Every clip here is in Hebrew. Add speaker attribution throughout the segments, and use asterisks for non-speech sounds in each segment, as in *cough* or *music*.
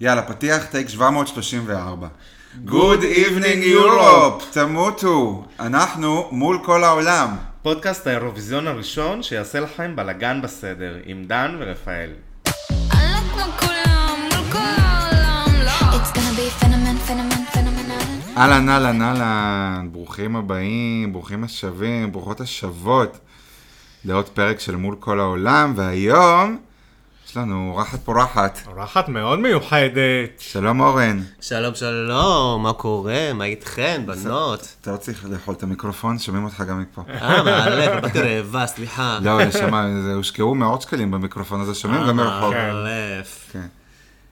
Speaker 1: יאללה, פתיח טייק 734. Good evening Europe, תמותו, אנחנו מול כל העולם.
Speaker 2: פודקאסט האירוויזיון הראשון שיעשה לכם בלאגן בסדר, עם דן ורפאל.
Speaker 3: It's gonna be phenomen, phenomen, phenomenal.
Speaker 1: אהלן, אהלן, אהלן, ברוכים הבאים, ברוכים השבים, ברוכות השבות. לעוד פרק של מול כל העולם, והיום יש לנו אורחת פורחת.
Speaker 4: אורחת מאוד מיוחדת.
Speaker 1: שלום אורן,
Speaker 5: שלום שלום, מה קורה? מה איתכן,
Speaker 4: *laughs*
Speaker 5: בנות?
Speaker 1: אתה לא צריך לאכול את המיקרופון, שומעים אותך גם מפה.
Speaker 5: אה, מעלה, באתי רעבה, סליחה.
Speaker 1: לא, נשמה, זה- הושקעו מאות שקלים במיקרופון הזה, שומעים גם מרחוב.
Speaker 5: אה, מעלף.
Speaker 1: כן.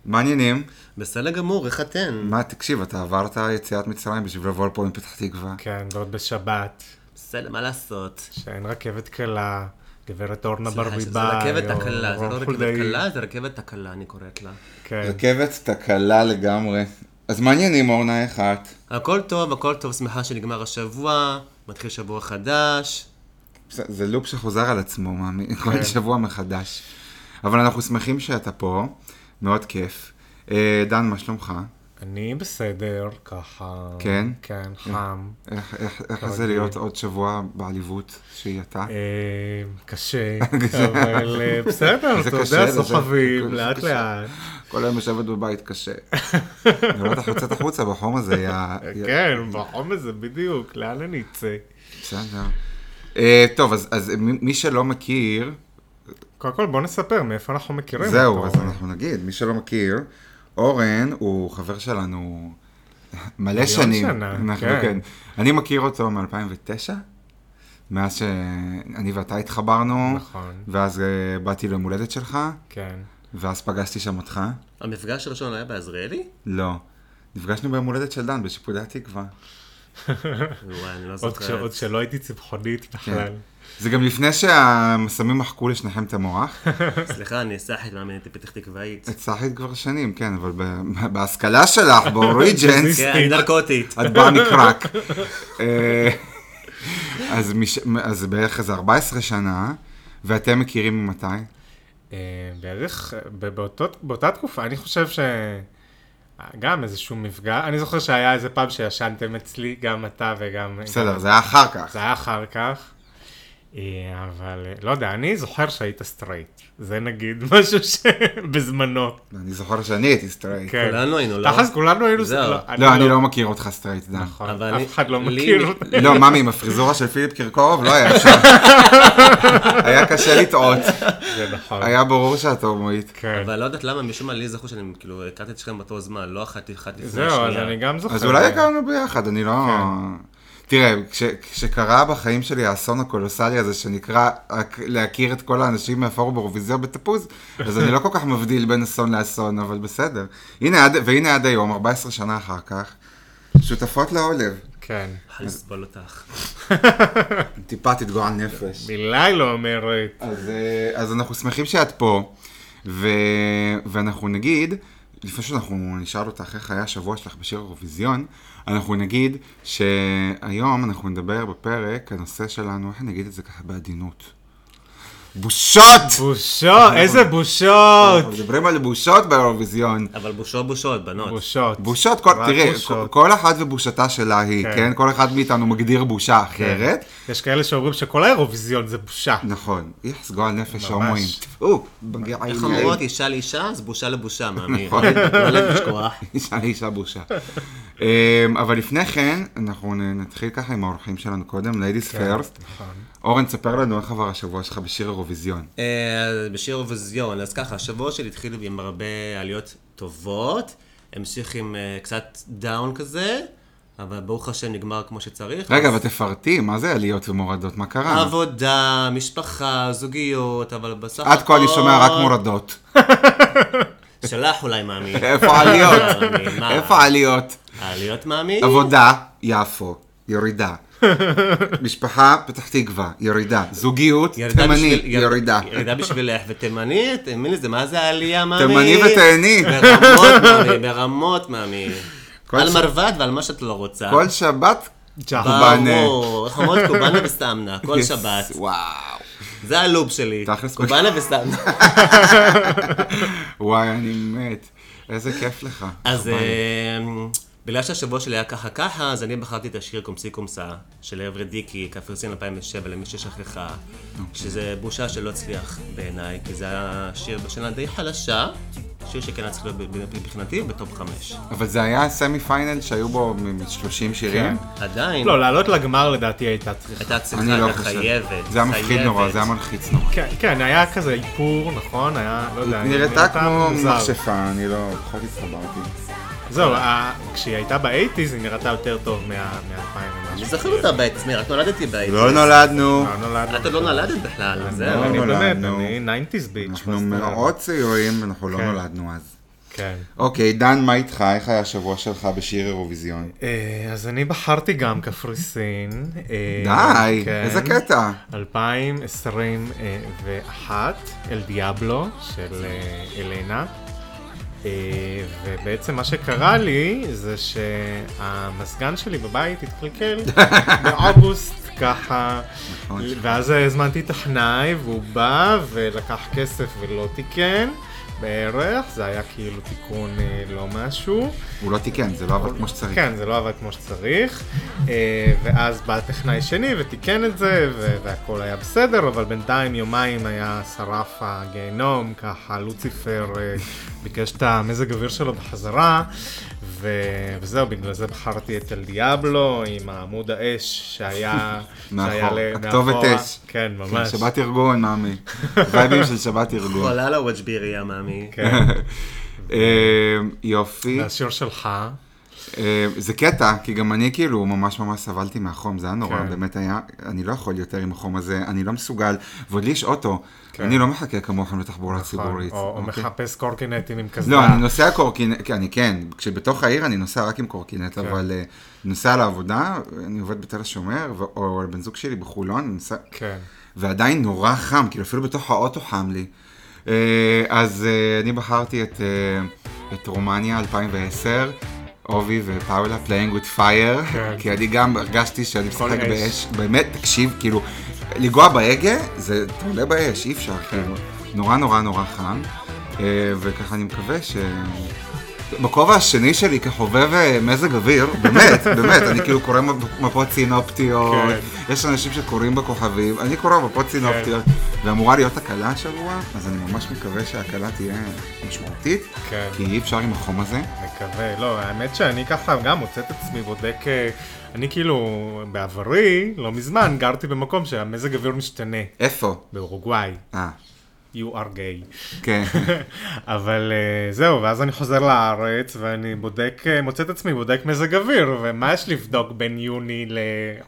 Speaker 1: מה העניינים?
Speaker 5: בסדר גמור, איך אתן?
Speaker 1: מה, תקשיב, אתה עברת יציאת מצרים בשביל לבוא לפה מפתח תקווה.
Speaker 4: כן, ועוד בשבת,
Speaker 5: בסדר, מה לעשות?
Speaker 4: שאין רכבת קלה, גברת אורנה ברביבאי.
Speaker 5: סליחה, שזה רכבת
Speaker 4: או
Speaker 5: הקלה, זה
Speaker 4: רון
Speaker 5: לא רכבת
Speaker 4: חולדאי.
Speaker 5: קלה, זה רכבת תקלה, אני קוראת לה.
Speaker 4: כן,
Speaker 1: רכבת תקלה לגמרי. אז מעניינים, אורנה, איך את?
Speaker 5: הכל טוב, הכל טוב, שמחה שנגמר השבוע, מתחיל שבוע חדש.
Speaker 1: זה- זה לופ שחוזר על עצמו, מאמי, כל שבוע מחדש. אבל אנחנו שמחים שאתה פה, מאוד כיף. אה, דן, מה שלומך?
Speaker 4: אני בסדר, ככה.
Speaker 1: כן?
Speaker 4: כן, חם.
Speaker 1: איך- איך איך זה להיות עוד שבוע בעליבות שהיא אתה?
Speaker 4: אה, קשה, אבל
Speaker 1: *laughs*
Speaker 4: אה, בסדר,
Speaker 1: זה
Speaker 4: אתה
Speaker 1: קשה,
Speaker 4: יודע,
Speaker 1: זה- זה-
Speaker 4: סוחבים,
Speaker 1: זה
Speaker 4: לאט
Speaker 1: קשה.
Speaker 4: לאט.
Speaker 1: כל היום יושבת בבית קשה.
Speaker 4: *laughs*
Speaker 1: לראות אותך יוצאת החוצה בחום הזה, יא... יא-
Speaker 4: כן, בחום הזה בדיוק, לאן אני אצא?
Speaker 1: בסדר. אה, טוב, אז- אז מי מי שלא מכיר,
Speaker 4: קודם כל בוא נספר מאיפה אנחנו מכירים אותו.
Speaker 1: זהו, אז אנחנו נגיד, מי שלא מכיר, אורן הוא חבר שלנו *laughs* מלא שנים.
Speaker 4: שנה,
Speaker 1: אנחנו-
Speaker 4: כן.
Speaker 1: אני מכיר אותו מ-2009, מאז שאני ואתה התחברנו,
Speaker 4: נכון,
Speaker 1: ואז אה, באתי ליום הולדת שלך,
Speaker 4: כן.
Speaker 1: ואז פגשתי שם אותך.
Speaker 5: המפגש הראשון היה בעזריאלי?
Speaker 1: לא. נפגשנו ביום הולדת של דן בשיפודי התקווה.
Speaker 5: וואי, אני לא
Speaker 4: עוד כש-
Speaker 5: זוכרת.
Speaker 4: עוד שלא הייתי
Speaker 5: כן.
Speaker 4: צמחונית בכלל.
Speaker 1: זה גם לפני שהסמים מחקו לשניכם את
Speaker 4: *laughs*
Speaker 1: המוח.
Speaker 5: סליחה, אני סאחית מאמינת פתח תקוואית.
Speaker 1: את סחית כבר שנים, כן, אבל ב- בהשכלה
Speaker 4: *laughs*
Speaker 1: שלך, באוריג'נס,
Speaker 5: כן, אני נרקוטית.
Speaker 1: את באה מקרק. אה, אז, מש... אז בערך איזה 14 שנה, ואתם מכירים ממתי?
Speaker 4: אה, בערך, ב- באותו, באותה תקופה, אני חושב ש... גם איזשהו מפגע, אני זוכר שהיה איזה פעם שישנתם אצלי, גם אתה וגם...
Speaker 1: בסדר,
Speaker 4: גם...
Speaker 1: זה היה אחר כך.
Speaker 4: זה היה אחר כך. אה, אבל אה, לא יודע, אני זוכר שהיית סטרייט. זה נגיד *laughs* משהו שבזמנו.
Speaker 1: אני זוכר שאני הייתי סטרייט.
Speaker 4: כן.
Speaker 5: כולנו היינו, לא?
Speaker 4: תכלס כולנו היינו...
Speaker 5: זהו.
Speaker 1: לא, אני לא מכיר אותך סטרייט, דן.
Speaker 4: נכון,
Speaker 5: אבל
Speaker 4: אף
Speaker 5: אני-
Speaker 4: אחד לא
Speaker 5: לי-
Speaker 4: מכיר. אותי.
Speaker 1: לא, ממי, עם הפריזורה של פיליפ קרקורוב לא היה אפשר. היה קשה לטעות.
Speaker 4: זה נכון.
Speaker 1: היה ברור שאת הומואית.
Speaker 4: כן.
Speaker 5: אבל לא יודעת למה, משום מה לי זכו שאני כאילו הכרתי את שכם באותו זמן, לא אחת אחת לפני השנייה.
Speaker 4: זהו, אז אני גם זוכר.
Speaker 1: אז אולי הכרנו ביחד, אני לא...
Speaker 4: אה, כן.
Speaker 1: תראה, כש- כשקרה בחיים שלי האסון הקולוסלי הזה שנקרא הק- להכיר את כל האנשים מהפורום אירוויזיו בתפוז, אז אני לא כל כך מבדיל בין אסון לאסון, אבל בסדר. הנה, עד- והנה עד היום, 14 שנה אחר כך, שותפות לעולב.
Speaker 4: כן.
Speaker 5: יכול לסבול אותך.
Speaker 1: טיפה תתגועל נפש.
Speaker 4: מילה היא לא אומרת.
Speaker 1: אז, אה, אז אנחנו שמחים שאת פה, ו... ואנחנו נגיד, לפני שאנחנו נשאל אותך איך היה השבוע שלך בשיר האירוויזיון, אנחנו נגיד שהיום אנחנו נדבר בפרק, הנושא שלנו, איך נגיד את זה ככה בעדינות? בושות!
Speaker 4: בושות,
Speaker 1: נכון.
Speaker 4: איזה בושות!
Speaker 1: אנחנו מדברים על בושות באירוויזיון.
Speaker 5: אבל בושות בושות, בנות.
Speaker 4: בושות.
Speaker 1: בושות, כל,
Speaker 4: רק
Speaker 1: תראה,
Speaker 4: בושות.
Speaker 1: כל אחת ובושתה שלה היא, כן?
Speaker 4: כן.
Speaker 1: כל אחד מאיתנו מגדיר בושה אחרת.
Speaker 4: יש כאלה שאומרים שכל האירוויזיון זה בושה.
Speaker 1: נכון, יחס גועל נפש
Speaker 4: ממש.
Speaker 1: הומואים. טפו, בגרעינים.
Speaker 5: איך אומרות אישה לאישה, אז בושה לבושה, מאמי.
Speaker 1: נכון.
Speaker 5: לא לשכוח.
Speaker 1: אישה לאישה בושה. אמ, אבל לפני כן, אנחנו נ- נתחיל ככה עם האורחים שלנו קודם, ladies first. אורן, ספר לנו איך עבר השבוע שלך בשיר אירוויזיון.
Speaker 5: אה, בשיר אירוויזיון, אז ככה, השבוע שלי התחיל עם הרבה עליות טובות, המשיך עם אה, קצת דאון כזה, אבל ברוך השם נגמר כמו שצריך.
Speaker 1: רגע,
Speaker 5: אז
Speaker 1: אבל תפרטי, מה זה עליות ומורדות? מה קרה?
Speaker 5: עבודה, משפחה, זוגיות, אבל בסך הכל...
Speaker 1: עד כה אני שומע רק מורדות.
Speaker 5: שלח אולי, מאמי.
Speaker 1: איפה
Speaker 5: *laughs*
Speaker 1: העליות?
Speaker 5: מאמי, מה?
Speaker 1: איפה העליות?
Speaker 5: העליות, מאמי?
Speaker 1: עבודה, יפו, ירידה. משפחה, פתח תקווה, ירידה. זוגיות,
Speaker 5: ירידה
Speaker 1: תימני,
Speaker 5: בשביל- יר-
Speaker 1: ירידה.
Speaker 5: ירידה בשבילך, ותימני, תאמין לי, זה מה זה העלייה, מאמי?
Speaker 1: תימני ותהני.
Speaker 5: ברמות, מאמי, ברמות, מאמי.
Speaker 1: כל
Speaker 5: על
Speaker 1: ש-
Speaker 5: מרבד ועל מה שאת לא רוצה.
Speaker 1: כל שבת, קובאנה.
Speaker 5: ברור, חמות קובאנה וסטמנה,
Speaker 1: *laughs*
Speaker 5: כל שבת.
Speaker 1: וואו.
Speaker 5: זה הלוב שלי.
Speaker 1: תכלס,
Speaker 5: קובאנה וסטמנה.
Speaker 1: וואי, אני מת. איזה כיף לך.
Speaker 5: אז
Speaker 1: חבל.
Speaker 5: אמ, בגלל שהשבוע שלי היה ככה ככה, אז אני בחרתי את השיר קומסי קומסה של אברי דיקי, קפריסין 2007, למי ששכחה,
Speaker 1: אוקיי.
Speaker 5: שזה בושה שלא הצליח בעיניי, כי זה היה שיר בשנה די חלשה, שיר שכן היה צריך להיות ב- ב- מבחינתי בטופ חמש.
Speaker 1: אבל זה היה הסמי פיינל שהיו בו מ- 30 שירים?
Speaker 5: כן. עדיין,
Speaker 4: לא, לעלות לגמר לדעתי הייתה צריכה.
Speaker 5: הייתה צריכה,
Speaker 1: אני לא
Speaker 5: הייתה
Speaker 1: חושב.
Speaker 5: חייבת,
Speaker 1: זה היה מפחיד נורא,
Speaker 5: חייבת.
Speaker 1: זה היה מלחיץ נורא.
Speaker 4: כן, כן, היה כזה איפור, נכון? היה, לא יודע.
Speaker 1: נראתה כמו
Speaker 4: מוזר.
Speaker 1: מכשפה, אני לא, פחות התחברתי.
Speaker 4: זהו, ה- כשהיא הייתה באייטיז היא נראתה יותר טוב מה- מהאלפיים ומשהו.
Speaker 5: אני זוכר אותה בעצמי, רק נולדתי בעצמי.
Speaker 1: לא נולדנו,
Speaker 4: לא נולד.
Speaker 5: אתה לא נולדת בכלל,
Speaker 4: לא,
Speaker 5: זהו.
Speaker 1: לא
Speaker 4: אני באמת,
Speaker 1: נולדנו.
Speaker 4: אני 90's ביץ'.
Speaker 1: אנחנו
Speaker 4: מה זאת אומרת?
Speaker 1: מאוד צעירים, אנחנו לא
Speaker 4: לא, כן.
Speaker 1: נולדנו אז.
Speaker 4: כן.
Speaker 1: אוקיי, דן, מה איתך? איך היה השבוע שלך בשיר אירוויזיון?
Speaker 4: אה, אז אני בחרתי גם קפריסין. אה,
Speaker 1: די,
Speaker 4: כן.
Speaker 1: איזה קטע.
Speaker 4: 2021, אל דיאבלו של אה, אלנה. אה, ובעצם מה שקרה לי זה שהמזגן שלי בבית התקלקל באוגוסט ככה,
Speaker 1: נכון.
Speaker 4: ואז הזמנתי טכנאי והוא בא ולקח כסף ולא תיקן בערך, זה היה כאילו תיקון אה, לא משהו.
Speaker 1: הוא לא תיקן, זה לא עבד כמו שצריך.
Speaker 4: כן, זה לא עבד כמו שצריך, אה, ואז בא טכנאי שני ותיקן את זה, ו- והכל היה בסדר, אבל בינתיים יומיים היה שרף הגיהנום, ככה לוציפר אה, ביקש את המזג אוויר שלו בחזרה, ו- וזהו, בגלל זה בחרתי את אל דיאבלו עם העמוד האש
Speaker 1: *laughs*
Speaker 4: שהיה...
Speaker 1: מאחור,
Speaker 4: שהיה ל-
Speaker 1: הכתובת
Speaker 4: מאחורה.
Speaker 1: אש.
Speaker 4: כן,
Speaker 1: כן,
Speaker 4: ממש.
Speaker 1: שבת ארגון,
Speaker 4: *laughs*
Speaker 1: מאמי. וייבים של שבת ארגון.
Speaker 5: חולה לווג'בירי, המאמי.
Speaker 4: כן.
Speaker 1: אה, יופי.
Speaker 4: והשיר שלך, נכון?
Speaker 1: אה, זה קטע, כי גם אני כאילו ממש ממש סבלתי מהחום, זה היה נורא,
Speaker 4: כן.
Speaker 1: באמת היה, אני לא יכול יותר עם החום הזה, אני לא מסוגל, ועוד לי יש אוטו, אני לא מחכה כמוכם לתחבורה ציבורית.
Speaker 4: כן. נכון, או או
Speaker 1: אוקיי?
Speaker 4: מחפש קורקינטים עם קסדה.
Speaker 1: לא, אני נוסע קורקינט, כן, אני כן, כשבתוך העיר אני נוסע רק עם קורקינט,
Speaker 4: כן.
Speaker 1: אבל אה, נוסע לעבודה, אני עובד בתל השומר, ו- או הבן זוג שלי בחולון, אני נוסע,
Speaker 4: כן.
Speaker 1: ועדיין נורא חם, כאילו אפילו בתוך האוטו חם לי. אה, אז אה, אני בחרתי את, אה, את רומניה 2010, אובי ופאולה, Playing with Fire,
Speaker 4: כן.
Speaker 1: כי אני גם הרגשתי שאני משחק
Speaker 4: אש.
Speaker 1: באש, באמת, תקשיב, כאילו, לנגוע בהגה זה תעלה באש, אי אפשר,
Speaker 4: כן.
Speaker 1: כאילו, נורא נורא נורא חם, אה, וככה אני מקווה ש... בכובע השני שלי כחובב אה, מזג אוויר, באמת, באמת, אני כאילו קורא מפ- מפות סינופטיות,
Speaker 4: כן.
Speaker 1: יש אנשים שקוראים בכוכבים, אני קורא מפות סינופטיות, ואמורה להיות הקלה השבוע, אז אני ממש מקווה שההקלה תהיה משמעותית,
Speaker 4: כן.
Speaker 1: כי אי אפשר עם החום הזה.
Speaker 4: מקווה, לא, האמת שאני ככה גם מוצא את עצמי בודק, אה, אני כאילו בעברי, לא מזמן, גרתי במקום שהמזג אוויר משתנה,
Speaker 1: איפה?
Speaker 4: באורוגוואי,
Speaker 1: אה,
Speaker 4: you are gay. *laughs*
Speaker 1: כן.
Speaker 4: אבל אה, זהו, ואז אני חוזר לארץ ואני בודק, אה, מוצא את עצמי בודק מזג אוויר, ומה יש לבדוק בין יוני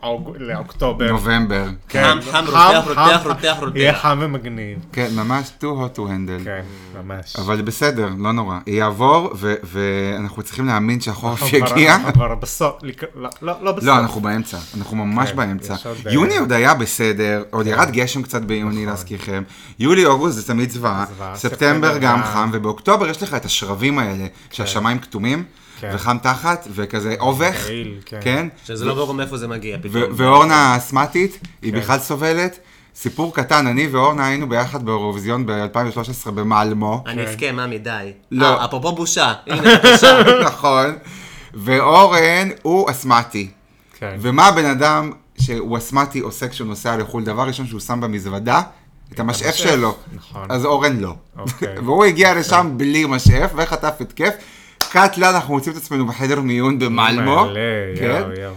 Speaker 4: לאוג- לאוקטובר?
Speaker 1: נובמבר.
Speaker 4: כן,
Speaker 5: חם, חם, רותח, רותח,
Speaker 4: חם,
Speaker 5: רותח,
Speaker 4: חם,
Speaker 5: רותח.
Speaker 4: יהיה חם ומגניב.
Speaker 1: כן, ממש too hot to handle.
Speaker 4: כן, ממש.
Speaker 1: אבל בסדר, לא נורא. יעבור, ו- ואנחנו צריכים להאמין שהחורף
Speaker 4: אנחנו כבר-
Speaker 1: יגיע.
Speaker 4: אנחנו כבר בסוף, לק- לא, לא לא בסוף.
Speaker 1: לא, אנחנו באמצע, אנחנו ממש
Speaker 4: כן,
Speaker 1: באמצע.
Speaker 4: יש עוד,
Speaker 1: יוני
Speaker 4: אה,
Speaker 1: עוד היה בסדר, עוד ירד גשם קצת ביוני להזכירכם. יולי-אוגוסט זה תמיד זוועה,
Speaker 4: נכון. זוועה,
Speaker 1: ספטמבר
Speaker 4: ספטמבר
Speaker 1: גם
Speaker 4: גם.
Speaker 1: חם, ובאוקטובר יש לך את השרבים האלה, שהשמיים כתומים,
Speaker 4: כן.
Speaker 1: וחם תחת, וכזה אובך,
Speaker 4: רעיל, כן.
Speaker 1: כן?
Speaker 5: שזה לא ברור מאיפה זה מגיע פתאום.
Speaker 1: ו- ואורנה האסמטית, היא
Speaker 4: כן.
Speaker 1: בכלל סובלת. סיפור קטן, אני ואורנה היינו ביחד באירוויזיון ב-2013
Speaker 4: *laughs*
Speaker 1: במלמו.
Speaker 5: אני אבכה, מאמי, די.
Speaker 1: אוקיי. לא.
Speaker 5: אה, אפרופו בושה, הנה,
Speaker 1: *laughs*
Speaker 5: בבקשה.
Speaker 1: נכון. ואורן הוא אסמטי.
Speaker 4: כן.
Speaker 1: ומה הבן אדם שהוא אסמטי עושה כשהוא נוסע לחו"ל? דבר ראשון שהוא שם במזוודה, את המשאף
Speaker 4: המשאף,
Speaker 1: שלו.
Speaker 4: נכון.
Speaker 1: אז אורן לא.
Speaker 4: אוקיי.
Speaker 1: *laughs* והוא הגיע לשם בלי משאף וחטף התקף. קאט לה, אנחנו מוצאים את עצמנו בחדר מיון במלמו.
Speaker 4: מלא,
Speaker 1: כן.
Speaker 4: יואו, יואו.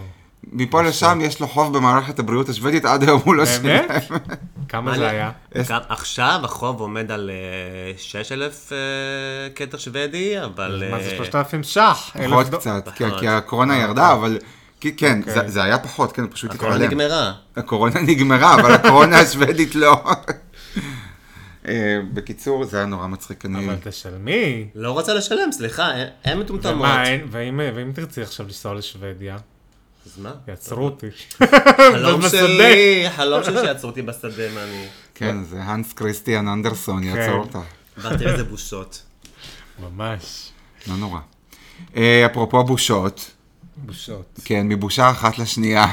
Speaker 1: מפה לשם יש לו חוב במערכת הבריאות השוודית, עד היום הוא לא שילם.
Speaker 4: באמת?
Speaker 1: *laughs*
Speaker 4: כמה זה היה?
Speaker 5: גם אוקיי, עכשיו החוב עומד על אה, 6,000 אה, קטר שוודי, אבל...
Speaker 4: מה זה
Speaker 5: אה,
Speaker 4: 3,000 ש"ח? אלף
Speaker 1: פחות
Speaker 4: דו- נכון. אה,
Speaker 1: קצת,
Speaker 5: פחות.
Speaker 1: כן, כי הקורונה ירדה, אבל... כי- כן, זה-
Speaker 4: אוקיי.
Speaker 1: זה היה פחות, כן, הוא פשוט
Speaker 5: הקורונה
Speaker 1: התעלם.
Speaker 5: נגמרה.
Speaker 1: הקורונה נגמרה, אבל הקורונה השוודית לא. *laughs* אה, בקיצור, זה היה נורא מצחיק. אני...
Speaker 4: אבל תשלמי.
Speaker 5: לא רוצה לשלם, סליחה, אין- אין מטומטמות.
Speaker 4: מה,
Speaker 1: אה?
Speaker 4: אין- ואם אה, ואם תרצי עכשיו לנסוע לשוודיה?
Speaker 5: אז מה?
Speaker 1: אה,
Speaker 4: יעצרו
Speaker 5: אה.
Speaker 4: אותי. *laughs*
Speaker 5: חלום
Speaker 4: בשדה.
Speaker 5: שלי, חלום שלי שיעצרו אותי בשדה, מאמי.
Speaker 1: כן, זה הנס כריסטיאן
Speaker 4: כן.
Speaker 1: אנדרסון, יעצור אותה.
Speaker 5: באתי איזה בושות.
Speaker 4: ממש.
Speaker 1: לא נורא. אה, אפרופו בושות,
Speaker 4: בושות.
Speaker 1: כן, מבושה אחת לשנייה.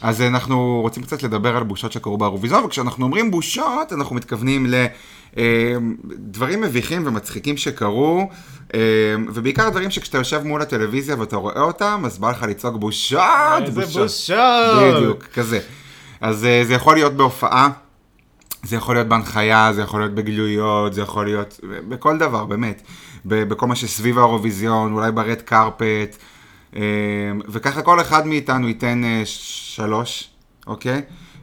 Speaker 1: אז אנחנו רוצים קצת לדבר על בושות שקרו באירוויזיון, וכשאנחנו אומרים בושות, אנחנו מתכוונים לדברים מביכים ומצחיקים שקרו, אה, ובעיקר דברים שכשאתה יושב מול הטלוויזיה ואתה רואה אותם, אז בא לך לצעוק בושות,
Speaker 4: איזה בושות!
Speaker 1: בדיוק, כזה. אז אה, זה יכול להיות בהופעה, זה יכול להיות בהנחיה, זה יכול להיות בגילויות, זה יכול להיות ב- בכל דבר, באמת. ב- בכל מה שסביב האירוויזיון, אולי ברד קרפט, אה, וככה כל אחד מאיתנו ייתן אה, שלוש, אוקיי?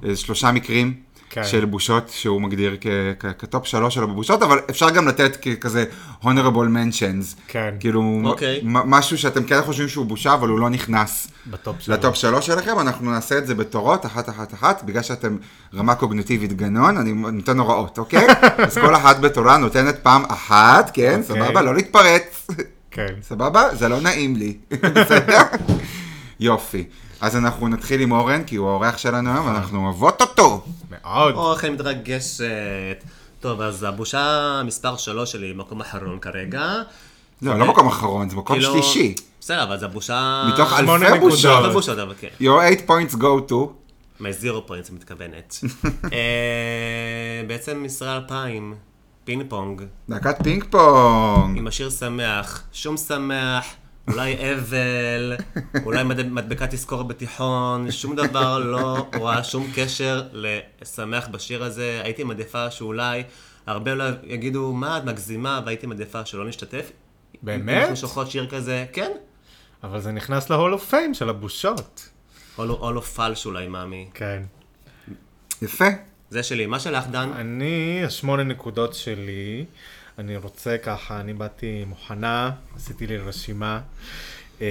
Speaker 1: אה, שלושה מקרים.
Speaker 4: כן.
Speaker 1: כן. של בושות שהוא מגדיר כ- כ- כטופ שלוש שלו בבושות, אבל אפשר גם לתת כ- כזה honorable mentions.
Speaker 4: כן.
Speaker 1: כאילו,
Speaker 5: אוקיי.
Speaker 1: מ- משהו שאתם כן חושבים שהוא בושה, אבל הוא לא נכנס
Speaker 4: בטופ שלוש.
Speaker 1: לטופ שלוש שלכם, אנחנו נעשה את זה בתורות, אחת אחת אחת, בגלל שאתם רמה קוגניטיבית גנון, אני נותן הוראות,
Speaker 4: *laughs*
Speaker 1: אוקיי? אז כל אחת בתורה נותנת פעם אחת, כן,
Speaker 4: אוקיי.
Speaker 1: סבבה, לא להתפרץ, *laughs*
Speaker 4: כן.
Speaker 1: סבבה? זה לא נעים
Speaker 4: *laughs*
Speaker 1: לי, בסדר? יופי. אז אנחנו נתחיל עם אורן, כי הוא האורח שלנו היום, ואנחנו אוהבות אותו.
Speaker 4: מאוד.
Speaker 5: או, איך אני מתרגשת. טוב, אז הבושה מספר שלוש שלי, מקום אחרון כרגע.
Speaker 1: לא,
Speaker 4: אוקיי.
Speaker 1: לא מקום אחרון, זה מקום
Speaker 5: כאילו-
Speaker 1: שלישי.
Speaker 5: בסדר, אבל זה הבושה...
Speaker 1: מתוך
Speaker 4: אה, שמונה
Speaker 1: אלפי
Speaker 5: אלפי
Speaker 1: בושות.
Speaker 5: בושות, אבל כן.
Speaker 1: Your 8 points go to.
Speaker 5: מ-zero points
Speaker 4: *laughs*
Speaker 5: מתכוונת. אה, בעצם ישראל 2000, פינג פונג,
Speaker 1: להקת פינג פונג.
Speaker 5: עם השיר שמח, שום שמח, אולי אבל, אולי מד- מדבקה תזכור בתיכון, שום דבר לא רואה שום קשר לשמח בשיר הזה. הייתי מעדיפה שאולי, הרבה לא יגידו, מה את מגזימה, והייתי מעדיפה שלא נשתתף.
Speaker 4: באמת?
Speaker 5: אנחנו שולחות שיר כזה, כן.
Speaker 4: אבל זה נכנס להול אוף פיים של הבושות.
Speaker 5: או לא פלש אולי, מאמי.
Speaker 4: כן.
Speaker 1: יפה.
Speaker 5: זה שלי. מה שלך, דן?
Speaker 4: אני, השמונה נקודות שלי, אני רוצה ככה, אני באתי מוכנה, עשיתי לי רשימה, אה,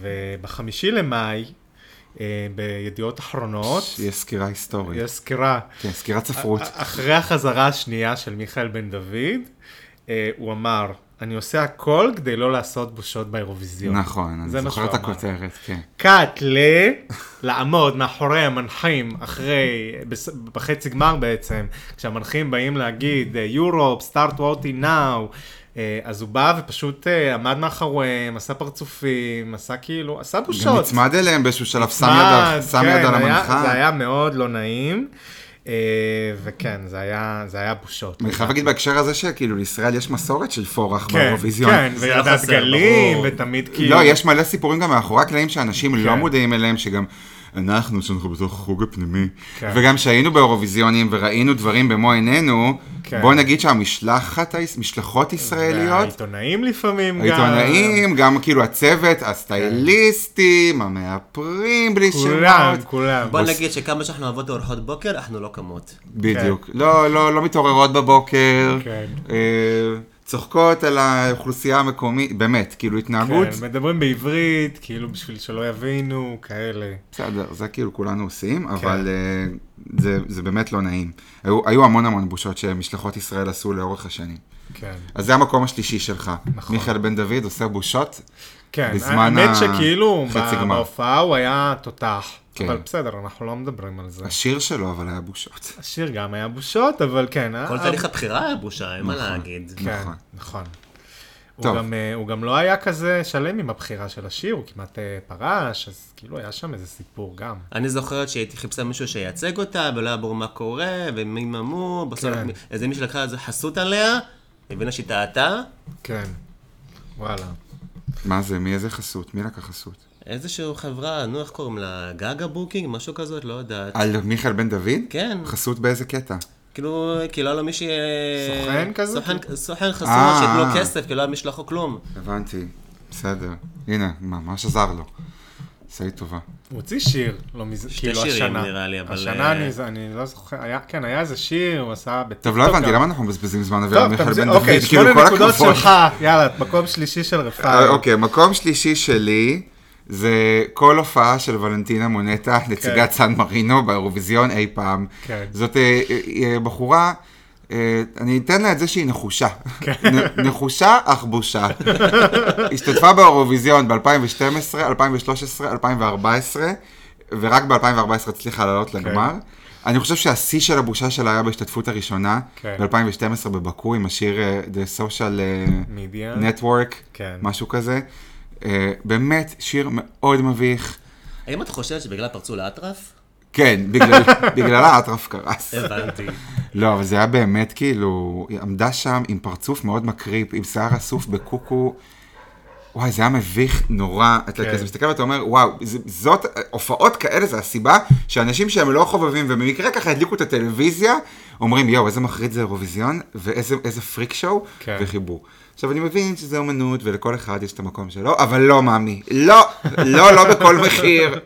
Speaker 4: ובחמישי למאי, אה, בידיעות אחרונות,
Speaker 1: יש סקירה היסטורית.
Speaker 4: יש סקירה.
Speaker 1: כן, סקירת ספרות.
Speaker 4: אחרי החזרה השנייה של מיכאל בן דוד, אה, הוא אמר, אני עושה הכל כדי לא לעשות בושות באירוויזיון.
Speaker 1: נכון,
Speaker 4: זה
Speaker 1: אני
Speaker 4: מה
Speaker 1: זוכר את
Speaker 4: שהוא אמר.
Speaker 1: הכותרת, כן.
Speaker 4: קאט ל... לעמוד מאחורי המנחים אחרי, בס- בחצי גמר בעצם, כשהמנחים באים להגיד, "אה, יורופ, סטארט וואטי נאו, אה, אז הוא בא ופשוט אה, עמד מאחוריהם, עשה פרצופים, עשה כאילו, עשה בושות.
Speaker 1: גם נצמד אליהם באיזשהו שלב, שם
Speaker 4: נצמד,
Speaker 1: יד שם
Speaker 4: כן,
Speaker 1: יד על
Speaker 4: היה-
Speaker 1: המנחה.
Speaker 4: זה היה מאוד לא נעים, אה, וכן, זה היה, זה היה בושות.
Speaker 1: אני חייב להגיד בהקשר הזה שכאילו לישראל יש מסורת של פורח
Speaker 4: כן,
Speaker 1: באירוויזיון.
Speaker 4: כן,
Speaker 5: זה לא
Speaker 4: וידעת
Speaker 5: חסר,
Speaker 4: גלים,
Speaker 5: ברור.
Speaker 4: ותמיד כאילו...
Speaker 1: לא, יש מלא סיפורים גם מאחורי הקלעים שאנשים לא
Speaker 4: כן.
Speaker 1: מודעים אליהם, שגם אנחנו, שאנחנו בתוך החוג הפנימי,
Speaker 4: כן.
Speaker 1: וגם שהיינו באירוויזיונים וראינו דברים במו עינינו,
Speaker 4: כן.
Speaker 1: בוא נגיד שהמשלחת, היש- משלחות ישראליות,
Speaker 4: העיתונאים לפעמים גם.
Speaker 1: העיתונאים, גם כאילו הצוות, הסטייליסטים, המאפרים בלי שמות.
Speaker 4: כולם, כולם.
Speaker 5: בוא נגיד שכמה שאנחנו אוהבות אורחות בוקר, אנחנו לא קמות.
Speaker 1: בדיוק. לא, לא, לא מתעוררות בבוקר.
Speaker 4: כן.
Speaker 1: אה, צוחקות על האוכלוסייה המקומית, באמת, כאילו התנהגות,
Speaker 4: כן, מדברים בעברית, כאילו בשביל שלא יבינו, כאלה.
Speaker 1: בסדר, זה כאילו כולנו עושים,
Speaker 4: כן.
Speaker 1: אבל אה, זה- זה באמת לא נעים. היו- היו המון המון בושות שמשלחות ישראל עשו לאורך השנים.
Speaker 4: כן.
Speaker 1: אז זה המקום השלישי שלך.
Speaker 4: נכון.
Speaker 1: מיכאל בן דוד עושה בושות,
Speaker 4: כן,
Speaker 1: בזמן
Speaker 4: האמת
Speaker 1: ה-
Speaker 4: שכאילו,
Speaker 1: חצי
Speaker 4: ב-
Speaker 1: גמר.
Speaker 4: בהופעה הוא היה תותח.
Speaker 1: כן.
Speaker 4: אבל בסדר, אנחנו לא מדברים על זה.
Speaker 1: השיר שלו אבל היה בושות.
Speaker 4: השיר גם היה בושות, אבל כן. ה-
Speaker 5: כל
Speaker 4: ה-
Speaker 5: תהליך הבחירה היה בושה, אין מה להגיד.
Speaker 4: כן,
Speaker 1: נכון.
Speaker 4: נכון. הוא
Speaker 1: טוב.
Speaker 4: גם, אה, הוא גם לא היה כזה שלם עם הבחירה של השיר, הוא כמעט אה, פרש, אז כאילו היה שם איזה סיפור גם.
Speaker 5: אני זוכרת שהייתי חיפשה מישהו שייצג אותה, ולא היה ברור מה קורה, ומי ממו, בסוף
Speaker 4: כן.
Speaker 5: מי- איזה מישהו לקחה איזה חסות עליה, הבינה שהיא טעתה,
Speaker 4: כן. וואלה.
Speaker 1: מה זה, מי איזה חסות? מי לקח חסות?
Speaker 5: איזושהי חברה, נו, איך קוראים לה? גגה בוקינג? משהו כזאת? לא יודעת.
Speaker 1: על מיכאל בן דוד?
Speaker 5: כן.
Speaker 1: חסות באיזה קטע?
Speaker 5: כאילו, כאילו היה לו מישהי... אה,
Speaker 4: סוכן כזה?
Speaker 5: סוכן- סוכן חסום
Speaker 1: אה,
Speaker 5: שייתנו לו
Speaker 1: אה.
Speaker 5: כסף, כאילו לא היה מישהו לחוק כלום.
Speaker 1: הבנתי, בסדר. הנה, ממש עזר לו. עשה לי טובה.
Speaker 4: הוא הוציא שיר, לא מז...
Speaker 5: שתי
Speaker 4: כאילו השנה.
Speaker 5: שירים, נראה לי, אבל,
Speaker 4: השנה
Speaker 5: אה,
Speaker 4: אני, זה- אני לא זוכר, היה, כן, היה איזה שיר, הוא עשה בטיקטוק.
Speaker 1: טוב, לא הבנתי,
Speaker 4: גם.
Speaker 1: למה אנחנו מבזבזים זמן אוויר על
Speaker 4: טוב,
Speaker 1: מיכאל
Speaker 4: תמציא-
Speaker 1: בן דוד?
Speaker 4: אוקיי,
Speaker 1: כאילו,
Speaker 4: שמונה
Speaker 1: כל
Speaker 4: נקודות
Speaker 1: הכבוד.
Speaker 4: שלך, יאללה, מקום שלישי של רפאל.
Speaker 1: אה, אוקיי, מקום שלישי שלי זה כל הופעה של ולנטינה מונטה, נציגת סן מרינו באירוויזיון אי פעם.
Speaker 4: כן.
Speaker 1: זאת אה, אה, אה, בחורה, אה, אני אתן לה את זה שהיא נחושה.
Speaker 4: כן.
Speaker 1: נ- נחושה אך
Speaker 4: *laughs*
Speaker 1: בושה. השתתפה באירוויזיון ב-2012, 2013, 2014, ורק ב-2014 הצליחה לעלות
Speaker 4: כן.
Speaker 1: לגמר. אני חושב שהשיא של הבושה שלה היה בהשתתפות הראשונה,
Speaker 4: כן.
Speaker 1: ב-2012 בבקו, עם השיר אה, The Social אה,
Speaker 4: Media.
Speaker 1: Network,
Speaker 4: כן.
Speaker 1: משהו כזה. אה, באמת שיר מאוד מביך.
Speaker 5: האם את חושבת שבגלל פרצו לאטרף?
Speaker 1: כן, בגלל- *laughs* בגללה אטרף קרס.
Speaker 5: הבנתי.
Speaker 1: לא, אבל זה היה באמת כאילו, היא עמדה שם עם פרצוף מאוד מקריפ, עם שיער אסוף בקוקו. וואי, זה היה מביך נורא. אתה
Speaker 4: כן.
Speaker 1: כזה מסתכל ואתה אומר, וואו, ז- זאת, הופעות כאלה זה הסיבה שאנשים שהם לא חובבים ובמקרה ככה הדליקו את הטלוויזיה, אומרים, יואו, איזה מחריד זה אירוויזיון, ואיזה איזה פריק שואו,
Speaker 4: כן.
Speaker 1: וחיבור. עכשיו, אני מבין שזה אומנות ולכל אחד יש את המקום שלו, אבל לא, מאמי, לא, לא, לא בכל מחיר.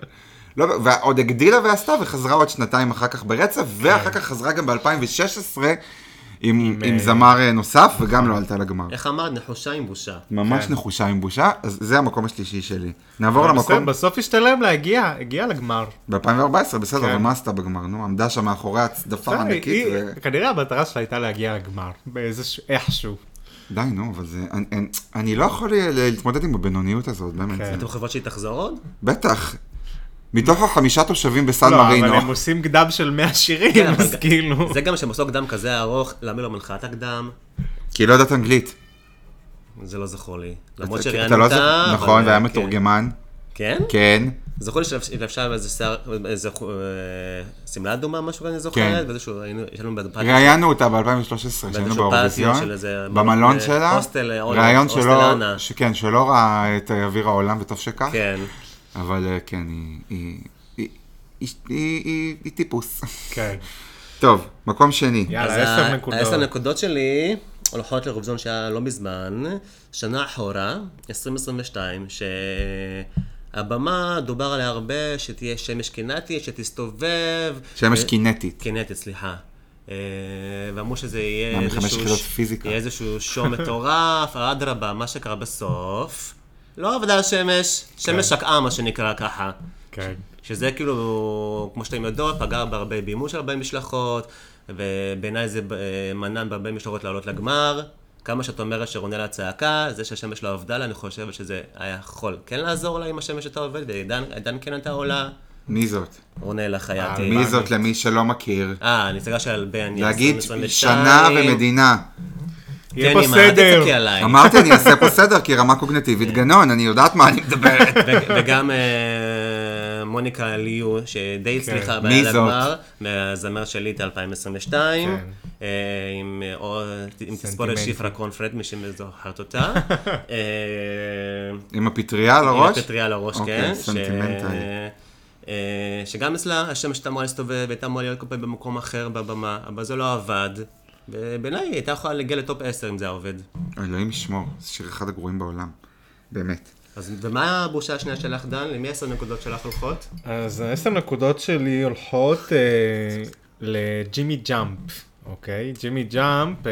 Speaker 1: לא, ב- ועוד הגדילה ועשתה וחזרה עוד שנתיים אחר כך
Speaker 4: כן.
Speaker 1: ברצף, ואחר כך חזרה גם ב-2016 עם, עם זמר אה, נוסף, וגם לא עלתה לגמר.
Speaker 5: *laughs*
Speaker 4: אה,
Speaker 5: איך אמרת? נחושה עם בושה.
Speaker 1: ממש
Speaker 4: כן.
Speaker 1: נחושה עם בושה, אז זה המקום השלישי שלי. נעבור
Speaker 4: בסדר,
Speaker 1: למקום
Speaker 4: בסוף השתלם להגיע, הגיע לגמר.
Speaker 1: ב-2014, בסדר, אבל
Speaker 4: כן.
Speaker 1: מה עשתה בגמר? נו, עמדה שם מאחורי הצדפה
Speaker 4: בסדר,
Speaker 1: ענקית,
Speaker 4: היא-
Speaker 1: ו-
Speaker 4: כנראה המטרה שלה הייתה להגיע לגמר, באיזשהו, איכשהו.
Speaker 1: די, נו, אבל זה... אני- אני- אני לא יכול ל- להתמודד עם הבינוניות הזאת, באמת.
Speaker 4: כן.
Speaker 1: זה-
Speaker 5: אתם חושבות שהיא תחזור עוד?
Speaker 1: בטח. מתוך החמישה תושבים בסן
Speaker 4: לא, אבל
Speaker 1: מרינו.
Speaker 4: הם עושים קדם של 100 שירים,
Speaker 5: כן, אבל
Speaker 4: אז
Speaker 5: גם-
Speaker 4: כאילו...
Speaker 5: זה גם שמסוק דם כזה ארוך, למה לא מנחת הקדם?
Speaker 1: כי היא לא יודעת אנגלית.
Speaker 5: זה לא זכור לי. למרות
Speaker 1: אתה-
Speaker 5: שראיינת
Speaker 1: אתה לא
Speaker 5: אותה,
Speaker 1: זוכ-
Speaker 5: אבל-
Speaker 1: נכון, והיה
Speaker 5: כן.
Speaker 1: מתורגמן.
Speaker 5: כן?
Speaker 1: כן.
Speaker 5: זכור לי שלבשה איזה שיער, איזה אה, שמלה אדומה, משהו כזה, אני זוכרת,
Speaker 1: כן.
Speaker 5: ואיזשהו, היינו, יש לנו ב-2013,
Speaker 1: ראיינו אותה ב-2013, שהיינו
Speaker 5: פטיו
Speaker 1: באירוויזיון,
Speaker 5: של איזה מלון,
Speaker 1: במלון
Speaker 5: אה,
Speaker 1: שלה,
Speaker 5: הוסטל, אה, אולנד,
Speaker 1: ראיון
Speaker 5: הוסטל
Speaker 1: שלא,
Speaker 5: אנה.
Speaker 1: שכן, שלא ראה את אוויר העולם וטוב שכך,
Speaker 5: כן.
Speaker 1: אבל אה, כן, היא- היא- היא- היא- היא- היא- היא טיפוס. *laughs*
Speaker 4: כן.
Speaker 1: טוב, מקום שני.
Speaker 5: אז
Speaker 4: יאללה,
Speaker 5: ה-
Speaker 4: עשר נקודות.
Speaker 5: העשר נקודות שלי הולכות לאירוויזיון שהיה לא מזמן, שנה אחורה, 2022, שהבמה, דובר עליה הרבה, שתהיה שמש קינטית, שתסתובב.
Speaker 1: שמש
Speaker 5: אה,
Speaker 1: קינטית.
Speaker 5: קינטית, סליחה. אה, ואמרו שזה יהיה
Speaker 1: מה, מחמש יחידות פיזיקה.
Speaker 5: יהיה איזשהו שואו מטורף, *laughs* אדרבה, מה שקרה בסוף. לא עבדה השמש, שמש שקעה, מה שנקרא ככה.
Speaker 4: כן.
Speaker 5: שזה כאילו, כמו שאתם יודעות, פגע בהרבה בימוש של הרבה משלחות, ובעיניי זה אה, מנען בהרבה משלחות לעלות לגמר. כמה שאת אומרת שרונלה צעקה, זה שהשמש לא עבדה לה, אני חושבת שזה היה יכול כן לעזור לה אם השמש הייתה עובדת, ועידן עידן כן הייתה עולה.
Speaker 1: מי זאת?
Speaker 5: רונלה חייתי.
Speaker 1: מי זאת למי שלא מכיר?
Speaker 5: אה, הנציגה של אלבן,
Speaker 1: להגיד שנה ומדינה.
Speaker 5: *laughs*
Speaker 4: יהיה פה סדר.
Speaker 1: אמרתי, אני אעשה פה סדר, כי רמה קוגנטיבית
Speaker 5: כן.
Speaker 1: גנון, אני יודעת מה אני
Speaker 5: *laughs*
Speaker 1: מדברת.
Speaker 5: וגם אה, מוניקה ליו,
Speaker 4: כן.
Speaker 5: שדי הצליחה
Speaker 1: מי
Speaker 5: בעיה
Speaker 1: זאת?
Speaker 5: לגמר, מהזמר של ליטא 2022,
Speaker 4: כן.
Speaker 5: אה, עם, אה, או- עם תספורת
Speaker 4: סנטימנטים.
Speaker 5: שפרה קונפרד, מי שזוכרת
Speaker 4: *laughs*
Speaker 5: אותה. אה,
Speaker 1: עם הפטריה על
Speaker 5: עם
Speaker 1: הראש?
Speaker 5: הפטריה על הראש,
Speaker 1: אוקיי,
Speaker 5: כן. ש-
Speaker 1: סנטימנטלי.
Speaker 5: אה, שגם אצלה השמש הייתה אמורה להסתובב, הייתה אמורה להיות כל פעם במקום אחר בבמה, אבל זה לא עבד. ובעיניי היא הייתה יכולה להגיע לטופ 10 אם זה היה עובד.
Speaker 1: אלוהים ישמור, זה שיר אחד הגרועים בעולם. באמת.
Speaker 5: אז ומה הבושה השנייה שלך, דן? למי עשר נקודות שלך הולכות?
Speaker 4: אז העשר נקודות שלי הולכות אה, לג'ימי ג'אמפ, אוקיי? ג'ימי ג'אמפ, אה,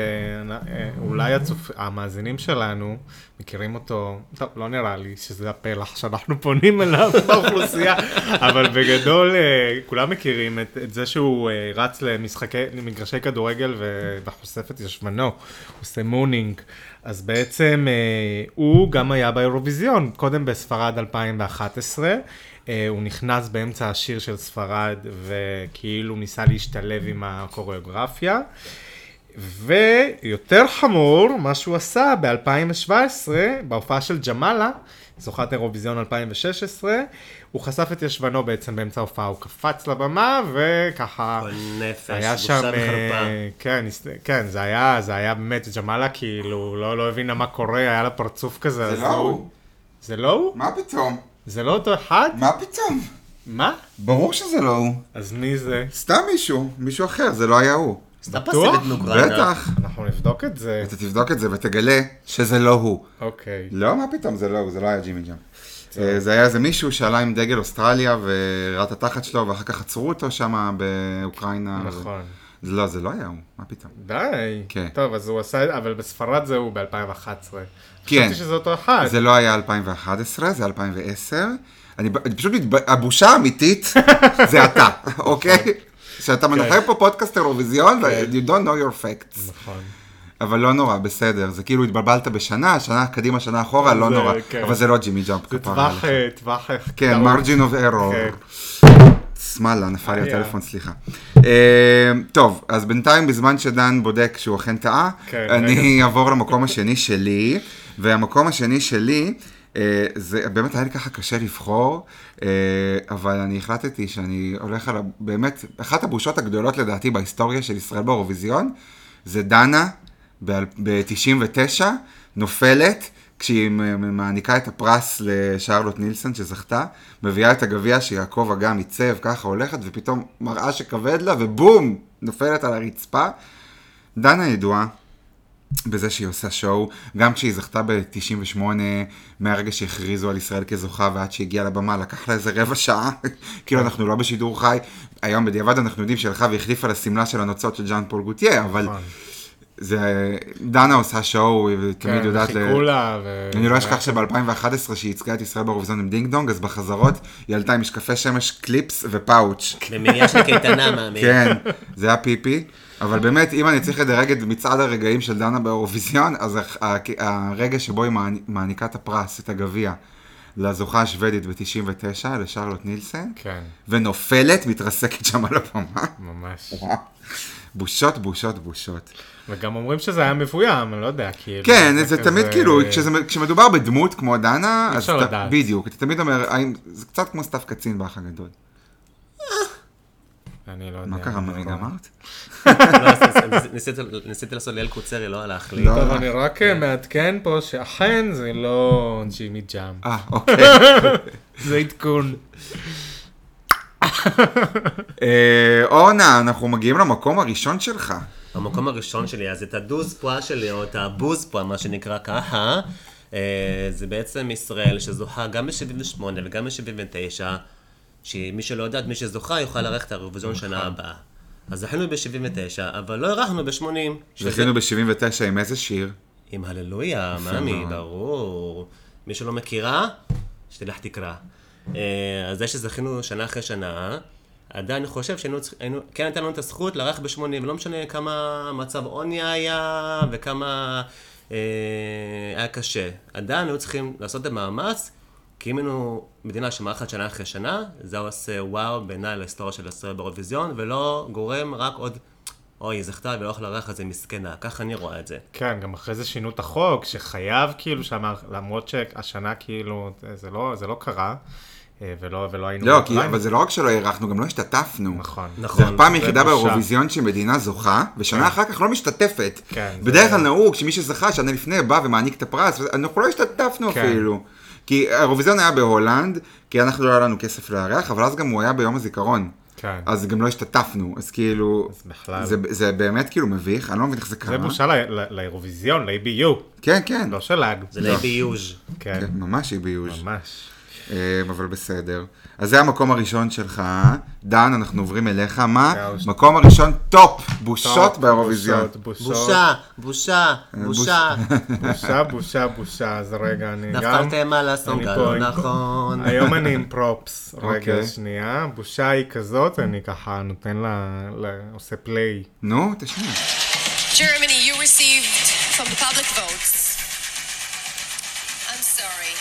Speaker 4: אה, אולי הצופ... המאזינים שלנו מכירים אותו, טוב, לא נראה לי שזה הפלח שאנחנו פונים אליו *laughs* באוכלוסייה, אבל בגדול אה, כולם מכירים את, את זה שהוא אה, רץ למשחקי, למגרשי כדורגל ו... וחושף את ישבנו, הוא עושה מונינג. אז בעצם אה, הוא גם היה באירוויזיון, קודם בספרד 2011. אה, הוא נכנס באמצע השיר של ספרד וכאילו ניסה להשתלב עם הקוריאוגרפיה. ויותר חמור, מה שהוא עשה ב-2017, בהופעה של ג'מאלה, זוכת אירוויזיון 2016, הוא חשף את ישבנו בעצם באמצע ההופעה, הוא קפץ לבמה וככה...
Speaker 5: כל נפש,
Speaker 4: היה
Speaker 5: בושה
Speaker 4: שם,
Speaker 5: וחרפה.
Speaker 4: אה, כן, הס- כן, זה היה, זה היה באמת, ג'מאלה כאילו, לא, לא הבינה מה קורה, היה לה פרצוף כזה.
Speaker 1: זה
Speaker 4: אז
Speaker 1: לא הוא.
Speaker 4: זה לא הוא?
Speaker 1: מה פתאום?
Speaker 4: זה לא אותו אחד?
Speaker 1: מה פתאום?
Speaker 4: מה?
Speaker 1: ברור שזה לא הוא.
Speaker 4: אז מי זה?
Speaker 1: סתם מישהו, מישהו אחר, זה לא היה הוא.
Speaker 5: סתם
Speaker 4: בטוח?
Speaker 5: פסיבית נוגרנה.
Speaker 1: בטח.
Speaker 4: אנחנו נבדוק את זה.
Speaker 1: אתה תבדוק את זה ותגלה שזה לא הוא.
Speaker 4: אוקיי.
Speaker 1: לא, מה פתאום, זה לא הוא, זה לא היה ג'ימי ג'אם. אה, זה היה איזה מישהו שעלה עם דגל אוסטרליה וראה את התחת שלו, ואחר כך עצרו אותו שם באוקראינה.
Speaker 4: נכון.
Speaker 1: זה- לא, זה לא היה הוא, מה פתאום.
Speaker 4: די.
Speaker 1: כן.
Speaker 4: טוב, אז הוא עשה, אבל בספרד זה הוא ב-2011.
Speaker 1: כן.
Speaker 4: חשבתי שזה אותו אחד.
Speaker 1: זה לא היה 2011, זה 2010. אני ב- אני פשוט, מתב- הבושה האמיתית זה אתה, *laughs* אוקיי? שאתה מנחה פה פודקאסט אירוויזיון, ו-you don't know your facts.
Speaker 4: נכון.
Speaker 1: אבל לא נורא, בסדר. זה כאילו התבלבלת בשנה, שנה קדימה, שנה אחורה, לא
Speaker 4: זה-
Speaker 1: נורא.
Speaker 4: כן.
Speaker 1: אבל זה לא ג'ימי ג'אמפ.
Speaker 4: זה
Speaker 1: כפרה
Speaker 4: טווח,
Speaker 1: עליך.
Speaker 4: אה, טווח... אה,
Speaker 1: כן,
Speaker 4: דרום.
Speaker 1: מרג'ין אוף ארור.
Speaker 4: כן.
Speaker 1: שמאלה, נפל לי
Speaker 4: היה.
Speaker 1: הטלפון, סליחה. אה, טוב, אז בינתיים, בזמן שדן בודק שהוא אכן טעה,
Speaker 4: כן,
Speaker 1: אני אעבור למקום השני שלי, והמקום השני שלי, אה, זה באמת היה לי ככה קשה לבחור, אה, אבל אני החלטתי שאני הולך על, ה- באמת, אחת הבושות הגדולות לדעתי בהיסטוריה של ישראל באירוויזיון, זה דנה ב-99, נופלת. כשהיא מ- מעניקה את הפרס לשרלוט נילסון שזכתה, מביאה את הגביע שיעקב אגם עיצב, ככה הולכת, ופתאום מראה שכבד לה, ובום! נופלת על הרצפה. דנה ידועה בזה שהיא עושה שואו, גם כשהיא זכתה ב-98, מהרגע שהכריזו על ישראל כזוכה ועד שהגיעה לבמה, לקח לה איזה רבע שעה, *laughs* כאילו אנחנו לא בשידור חי. היום בדיעבד אנחנו יודעים שהלכה והחליפה לשמלה של הנוצות של ז'אן פול גוטייה, אבל
Speaker 4: נכון.
Speaker 1: זה... דנה עושה שואו, היא תמיד
Speaker 4: כן,
Speaker 1: יודעת... ל-
Speaker 4: חיכו לה, ו...
Speaker 1: אני לא אשכח שב-2011, שהיא ייצגה את ישראל באירוויזיון עם דינג דונג, אז בחזרות היא עלתה עם משקפי שמש, קליפס ופאוץ'.
Speaker 5: במניעה
Speaker 1: *laughs*
Speaker 5: של קייטנה, מאמין.
Speaker 1: כן, זה היה פיפי. אבל באמת, אם אני צריך לדרג את מצעד הרגעים של דנה באירוויזיון, אז הח- ה- הרגע שבו היא מעני- מעניקה את הפרס, את הגביע, לזוכה השוודית ב-99, לשרלוט נילסן,
Speaker 4: כן,
Speaker 1: ונופלת, מתרסקת שם על הבמה.
Speaker 4: ממש.
Speaker 1: בושות, בושות, בושות.
Speaker 4: וגם אומרים שזה היה מבוים, אני לא יודע, כאילו.
Speaker 1: כן, זה תמיד
Speaker 4: כזה-
Speaker 1: כאילו, כשזה- כשמדובר בדמות כמו דנה, אז
Speaker 4: אפשר
Speaker 1: אתה-
Speaker 4: לדעת.
Speaker 1: בדיוק, אתה תמיד אומר, האם- זה קצת כמו סתיו קצין באח הגדול.
Speaker 4: כן, אני לא יודע.
Speaker 1: מה קרה, מה רגע אמרת?
Speaker 5: לא, אז- אז- אז ניסיתי- ניסיתי לעשות ליאל קוצרי, לא הלך לי.
Speaker 1: לא.
Speaker 4: טוב, אני רק אה, מעדכן פה שאכן זה לא ג'ימי ג'אם.
Speaker 1: אה, אוקיי. *laughs*
Speaker 4: זה עדכון.
Speaker 1: אה, אורנה, אנחנו מגיעים למקום הראשון שלך.
Speaker 5: המקום הראשון שלי, אז את הדוז פועה שלי, או את הבוז פועה, מה שנקרא ככה, אה, זה בעצם ישראל שזוכה גם ב-78 וגם ב-79, שמי שלא יודעת, מי שזוכה יוכל לארח את האירוויזיון
Speaker 1: נכון.
Speaker 5: שנה הבאה. אז זכינו ב-79, אבל לא אירחנו ב-80.
Speaker 1: זכינו ב-79 עם איזה שיר?
Speaker 5: עם הללויה, מאמי,
Speaker 1: מאוד.
Speaker 5: ברור. מי שלא מכירה, שתלך תקרא. אה, אז זה שזכינו שנה אחרי שנה, עדיין אני חושב שהיינו צריכים, היינו- כן הייתה לנו את הזכות לארח ב-80, ולא משנה כמה מצב עוני היה, וכמה אה, היה קשה. עדיין היו צריכים לעשות את המאמץ, כי אם היינו מדינה שמארחת שנה אחרי שנה, זה עושה וואו בעיניי להיסטוריה של ישראל באירוויזיון, ולא גורם רק עוד, אוי, היא זכתה ולא יכולה לארח את זה מסכנה, ככה אני רואה את זה.
Speaker 4: כן, גם אחרי זה שינו את החוק, שחייב כאילו, שאמר, למרות שהשנה כאילו, זה לא, זה לא קרה, אה, ולא, ולא היינו...
Speaker 1: לא, כי-
Speaker 4: בפריים.
Speaker 1: אבל זה לא רק שלא הארכנו, גם לא השתתפנו.
Speaker 4: נכון.
Speaker 1: זה
Speaker 5: נכון.
Speaker 1: הפעם היחידה
Speaker 4: בושה.
Speaker 1: באירוויזיון שמדינה זוכה, ושנה אחר כך לא משתתפת.
Speaker 4: כן, זה-
Speaker 1: בדרך כלל נהוג שמי שזכה שנה לפני בא ומעניק את הפרס, אנחנו לא השתתפנו
Speaker 4: כן.
Speaker 1: אפילו. כי האירוויזיון היה בהולנד, כי אנחנו לא היה לנו כסף לארח, אבל אז גם הוא היה ביום הזיכרון.
Speaker 4: כן.
Speaker 1: אז גם לא השתתפנו, אז כאילו...
Speaker 4: אז בכלל.
Speaker 1: זה- זה באמת כאילו מביך, אני לא מבין איך זה קרה.
Speaker 4: זה בושה ל- ל- לאירוויזיון, ל-ABU,
Speaker 1: כן, כן.
Speaker 4: לא שלג.
Speaker 5: זה די ביוז'.
Speaker 4: כן,
Speaker 1: כן, ממש אי-ביוש.
Speaker 4: ממש.
Speaker 1: אה, אבל בסדר. אז זה המקום הראשון שלך. דן, אנחנו עוברים אליך. מה?
Speaker 4: זהו, ש-
Speaker 1: מקום הראשון, טופ, בושות באירוויזיון.
Speaker 4: בושות, בושות,
Speaker 5: בושה, בושה, אה, בושה.
Speaker 4: בושה, בושה, בושה, אז רגע, אני גם...
Speaker 5: נפלתם על הסונגה,
Speaker 4: אני פה,
Speaker 5: לא
Speaker 4: אני פה.
Speaker 5: נכון.
Speaker 4: היום אני עם פרופס, רגע
Speaker 1: אוקיי.
Speaker 4: שנייה, בושה היא כזאת, אני ככה נותן לה, לה- עושה פליי.
Speaker 1: נו, תשמע.
Speaker 6: Germany, you received from the public votes. I'm sorry.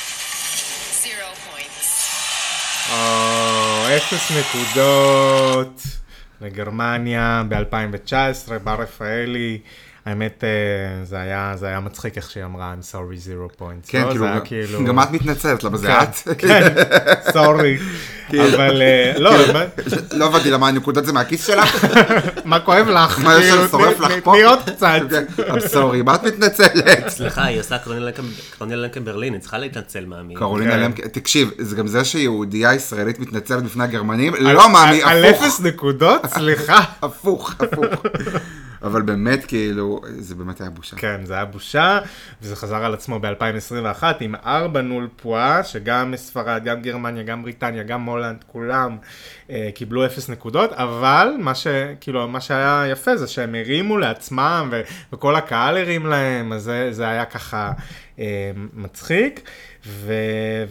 Speaker 6: Zero points.
Speaker 4: או, אפס נקודות לגרמניה ב-2019, בר רפאלי. האמת, אה, זה היה, זה היה מצחיק איך שהיא אמרה, I'm sorry, zero points.
Speaker 1: כן,
Speaker 4: לא,
Speaker 1: כאילו,
Speaker 4: זה
Speaker 1: גם-
Speaker 4: היה
Speaker 1: גם את מתנצלת, למה זה את?
Speaker 4: כן, סורי.
Speaker 1: *laughs* כאילו-
Speaker 4: אבל אה, לא, מה-
Speaker 1: לא הבנתי למה הנקודות זה מהכיס
Speaker 4: *laughs*
Speaker 1: שלך?
Speaker 4: מה כואב לך?
Speaker 1: מה
Speaker 4: כאילו,
Speaker 1: יושב שורף
Speaker 4: תני-
Speaker 1: לך
Speaker 4: תני-
Speaker 1: פה? כן.
Speaker 4: תני עוד
Speaker 1: *laughs*
Speaker 4: קצת.
Speaker 1: I'm sorry, מה את
Speaker 4: *laughs*
Speaker 1: מתנצלת?
Speaker 5: סליחה, היא עושה קרוניאל לנקם ברלין, היא צריכה להתנצל מאמי.
Speaker 1: קרולינה
Speaker 4: כן.
Speaker 1: למקין, תקשיב, זה גם זה שיהודייה ישראלית מתנצלת בפני הגרמנים? לא, מאמי,
Speaker 4: על
Speaker 1: הפוך.
Speaker 4: אפס נקודות? סליחה.
Speaker 1: הפוך,
Speaker 4: *laughs*
Speaker 1: הפוך. אבל באמת, כאילו, זה באמת היה בושה.
Speaker 4: כן, זה היה בושה, וזה חזר על עצמו ב-2021 עם 4 נול פועה, שגם ספרד, גם גרמניה, גם בריטניה, גם הולנד, כולם אה, קיבלו 0 נקודות, אבל מה, ש, כאילו, מה שהיה יפה זה שהם הרימו לעצמם, ו- וכל הקהל הרים להם, אז זה, זה היה ככה אה, מצחיק. ו,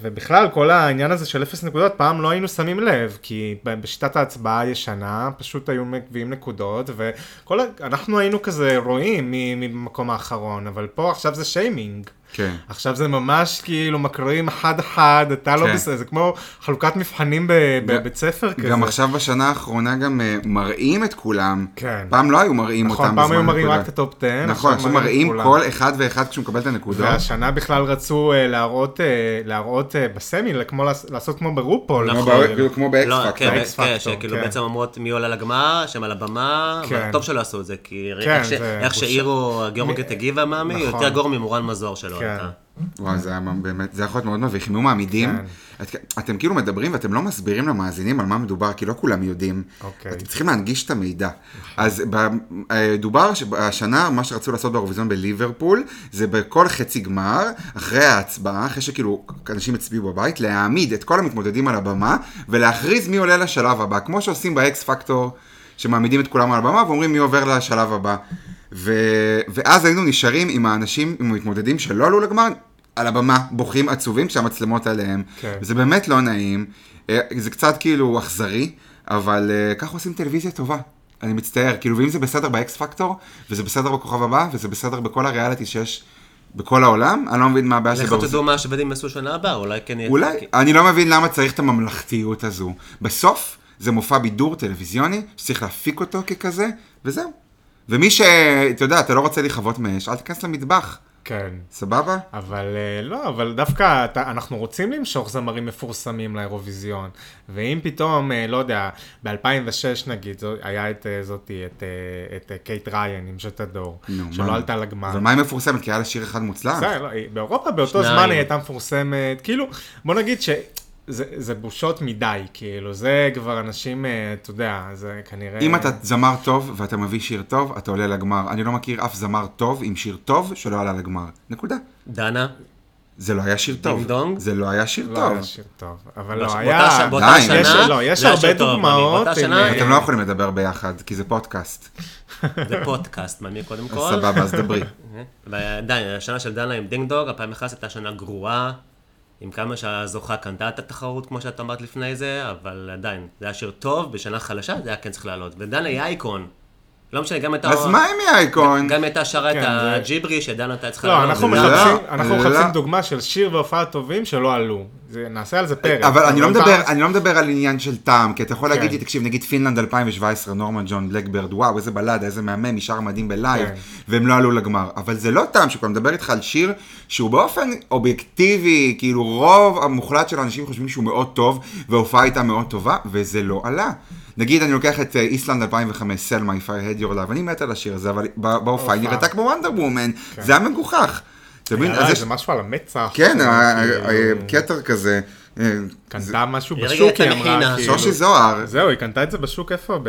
Speaker 4: ובכלל, כל העניין הזה של 0 נקודות, פעם לא היינו שמים לב, כי ב- בשיטת ההצבעה הישנה, פשוט היו מביאים נקודות, וכל, ה- אנחנו היינו כזה רואים מ- ממקום האחרון, אבל פה עכשיו זה שיימינג.
Speaker 1: כן.
Speaker 4: עכשיו זה ממש כאילו מקריאים חד-חד, אתה לא
Speaker 1: כן.
Speaker 4: בסדר, זה כמו חלוקת מבחנים ב- בבית ספר כזה.
Speaker 1: גם עכשיו בשנה האחרונה גם אה, מראים את כולם.
Speaker 4: כן.
Speaker 1: פעם לא היו מראים אותם
Speaker 4: נכון,
Speaker 1: בזמן
Speaker 4: פעם היו מראים
Speaker 1: הנקודה.
Speaker 4: רק את הטופ 10.
Speaker 1: נכון, עכשיו מראים
Speaker 4: כולם.
Speaker 1: כל אחד ואחד כשהוא מקבל את הנקודות.
Speaker 4: והשנה בכלל רצו אה, להראות, אה, להראות אה, בסמי, כמו לעס- לעשות כמו ברופול. אה,
Speaker 1: כמו
Speaker 5: נכון.
Speaker 1: ב- כאילו כמו באקס
Speaker 5: לא,
Speaker 1: פקטור.
Speaker 5: כן,
Speaker 4: X
Speaker 5: כן,
Speaker 4: Factor,
Speaker 5: שכאילו
Speaker 4: כן.
Speaker 5: בעצם אומרות מי עולה לגמר, שהם על הבמה,
Speaker 4: כן.
Speaker 5: אבל טוב שלא עשו את זה, כי
Speaker 4: כן,
Speaker 5: איך ש-
Speaker 4: זה
Speaker 5: איך
Speaker 4: בושה.
Speaker 5: שאירו גיאורגית הגיבה מאמי,
Speaker 4: נכון.
Speaker 5: יותר גור ממורן מזור שלו
Speaker 4: כן.
Speaker 5: הייתה.
Speaker 1: וואי, זה היה באמת, זה יכול להיות מאוד מביך, אם היו מעמידים.
Speaker 4: כן.
Speaker 1: את- אתם כאילו מדברים ואתם לא מסבירים למאזינים על מה מדובר, כי לא כולם יודעים.
Speaker 4: אוקיי.
Speaker 1: אתם צריכים להנגיש את המידע. אז ב- אה, דובר שהשנה, מה שרצו לעשות באירוויזיון בליברפול, זה בכל חצי גמר, אחרי ההצבעה, אחרי שכאילו אנשים הצביעו בבית, להעמיד את כל המתמודדים על הבמה, ולהכריז מי עולה לשלב הבא, כמו שעושים באקס פקטור, שמעמידים את כולם על הבמה ואומרים מי עובר לשלב הבא. ו... ואז היינו נשארים עם האנשים, עם המתמודדים שלא עלו לגמר, על הבמה, בוכים עצובים כשהמצלמות עליהם.
Speaker 4: כן.
Speaker 1: זה באמת לא נעים, אה, זה קצת כאילו אכזרי, אבל אה, ככה עושים טלוויזיה טובה. אני מצטער, כאילו, ואם זה בסדר באקס פקטור, וזה בסדר בכוכב הבא, וזה בסדר בכל הריאליטי שיש בכל העולם, אני לא מבין מה הבעיה
Speaker 5: לכו
Speaker 1: שבאוז...
Speaker 5: תדעו מה השוודים יעשו שנה הבאה, אולי כן יהיה...
Speaker 1: אולי,
Speaker 5: כי-
Speaker 1: אני לא מבין למה צריך את הממלכתיות הזו. בסוף, זה מופע בידור טלוויזיוני, שצריך להפיק אותו ככזה, וזהו. ומי ש... אתה יודע, אתה לא רוצה להיכבות מאש, אל תיכנס למטבח,
Speaker 4: כן.
Speaker 1: סבבה?
Speaker 4: אבל אה, לא, אבל דווקא אתה, אנחנו רוצים למשוך זמרים מפורסמים לאירוויזיון. ואם פתאום, אה, לא יודע, ב-2006 נגיד, זו, היה את אה, זאתי, את, אה, את אה, קייט ריין עם ז'טדור,
Speaker 1: נו,
Speaker 4: שלא
Speaker 1: מה?
Speaker 4: עלתה לגמר.
Speaker 1: אבל מה היא מפורסמת? כי היה לה שיר אחד מוצלח.
Speaker 4: זה, לא, היא- באירופה באותו
Speaker 5: שניים.
Speaker 4: זמן היא הייתה מפורסמת, כאילו, בוא נגיד ש... זה, זה בושות מדי, כאילו, זה כבר אנשים, אה, אתה יודע, זה כנראה...
Speaker 1: אם אתה זמר טוב ואתה מביא שיר טוב, אתה עולה לגמר. אני לא מכיר אף זמר טוב עם שיר טוב שלא עלה לגמר. נקודה.
Speaker 5: דנה,
Speaker 1: זה לא היה שיר טוב.
Speaker 5: דונג?
Speaker 1: זה לא היה שיר
Speaker 4: לא היה
Speaker 1: טוב.
Speaker 4: שיר טוב, אבל לא
Speaker 5: באותה
Speaker 4: היה...
Speaker 5: ש- באותה
Speaker 1: די,
Speaker 5: שנה,
Speaker 1: יש-
Speaker 4: לא, יש
Speaker 5: זה היה
Speaker 4: הרבה
Speaker 5: שיר טוב, מאמי.
Speaker 4: דוגמאות
Speaker 5: באותה
Speaker 4: עם-
Speaker 5: שנה,
Speaker 1: אתם לא יכולים לדבר ביחד, כי זה פודקאסט.
Speaker 5: זה פודקאסט, מאמי קודם כל.
Speaker 1: סבבה, אז
Speaker 4: *laughs*
Speaker 1: דברי.
Speaker 5: ועדיין, השנה של דנה עם דינג דוג, 2011 הייתה שנה גרועה, עם כמה שהזוכה קנתה את התחרות, כמו שאת אמרת לפני זה, אבל עדיין, זה היה שיר טוב, בשנה חלשה זה היה כן צריך לעלות. ודנה היא אייקון. לא משנה, גם הייתה...
Speaker 1: אז מה עם האייקון?
Speaker 5: גם הייתה שרה את
Speaker 4: כן, זה-
Speaker 5: הג'יברי, שדנה הייתה צריכה
Speaker 4: לא,
Speaker 5: לעלות.
Speaker 4: אנחנו
Speaker 5: זה
Speaker 1: לא,
Speaker 4: מחפשים- אנחנו
Speaker 1: לא.
Speaker 4: מחפשים דוגמה של שיר והופעה טובים שלא עלו. זה- נעשה על זה פרק.
Speaker 1: אבל אני לא מדבר,
Speaker 4: אתה-
Speaker 1: אני לא מדבר על עניין של טעם, כי אתה יכול להגיד
Speaker 4: כן.
Speaker 1: לי, תקשיב, נגיד פינלנד 2017, נורמן ג'ון בלקברד, וואו, איזה בלד, איזה מהמם, נשאר מדהים בלייב,
Speaker 4: כן.
Speaker 1: והם לא עלו לגמר. אבל זה לא טעם שכבר מדבר איתך על שיר שהוא באופן אובייקטיבי, כאילו רוב המוחלט של האנשים חושבים שהוא מאוד טוב, וההופעה הייתה מאוד טובה, וזה לא עלה. נגיד, אני לוקח את אה, איסלנד 2005, סלמה, If I had your love, אני מת על השיר הזה, אבל ב- בהופעה היא נראתה כמו וונדר וומן, זה היה מגוחך. אתה מבין? אז
Speaker 4: יאללה,
Speaker 1: יש...
Speaker 4: כן. זה משהו על המצח.
Speaker 1: כן,
Speaker 4: כאילו,
Speaker 1: ה- ה-
Speaker 4: כאילו,
Speaker 1: ה- קטר כזה. אה,
Speaker 4: קנתה משהו
Speaker 5: היא
Speaker 4: בשוק,
Speaker 5: רגע
Speaker 4: היא אמרה
Speaker 5: התנחינה.
Speaker 4: כאילו.
Speaker 1: שושי זוהר,
Speaker 4: זהו, היא קנתה את זה בשוק איפה? ב... ב-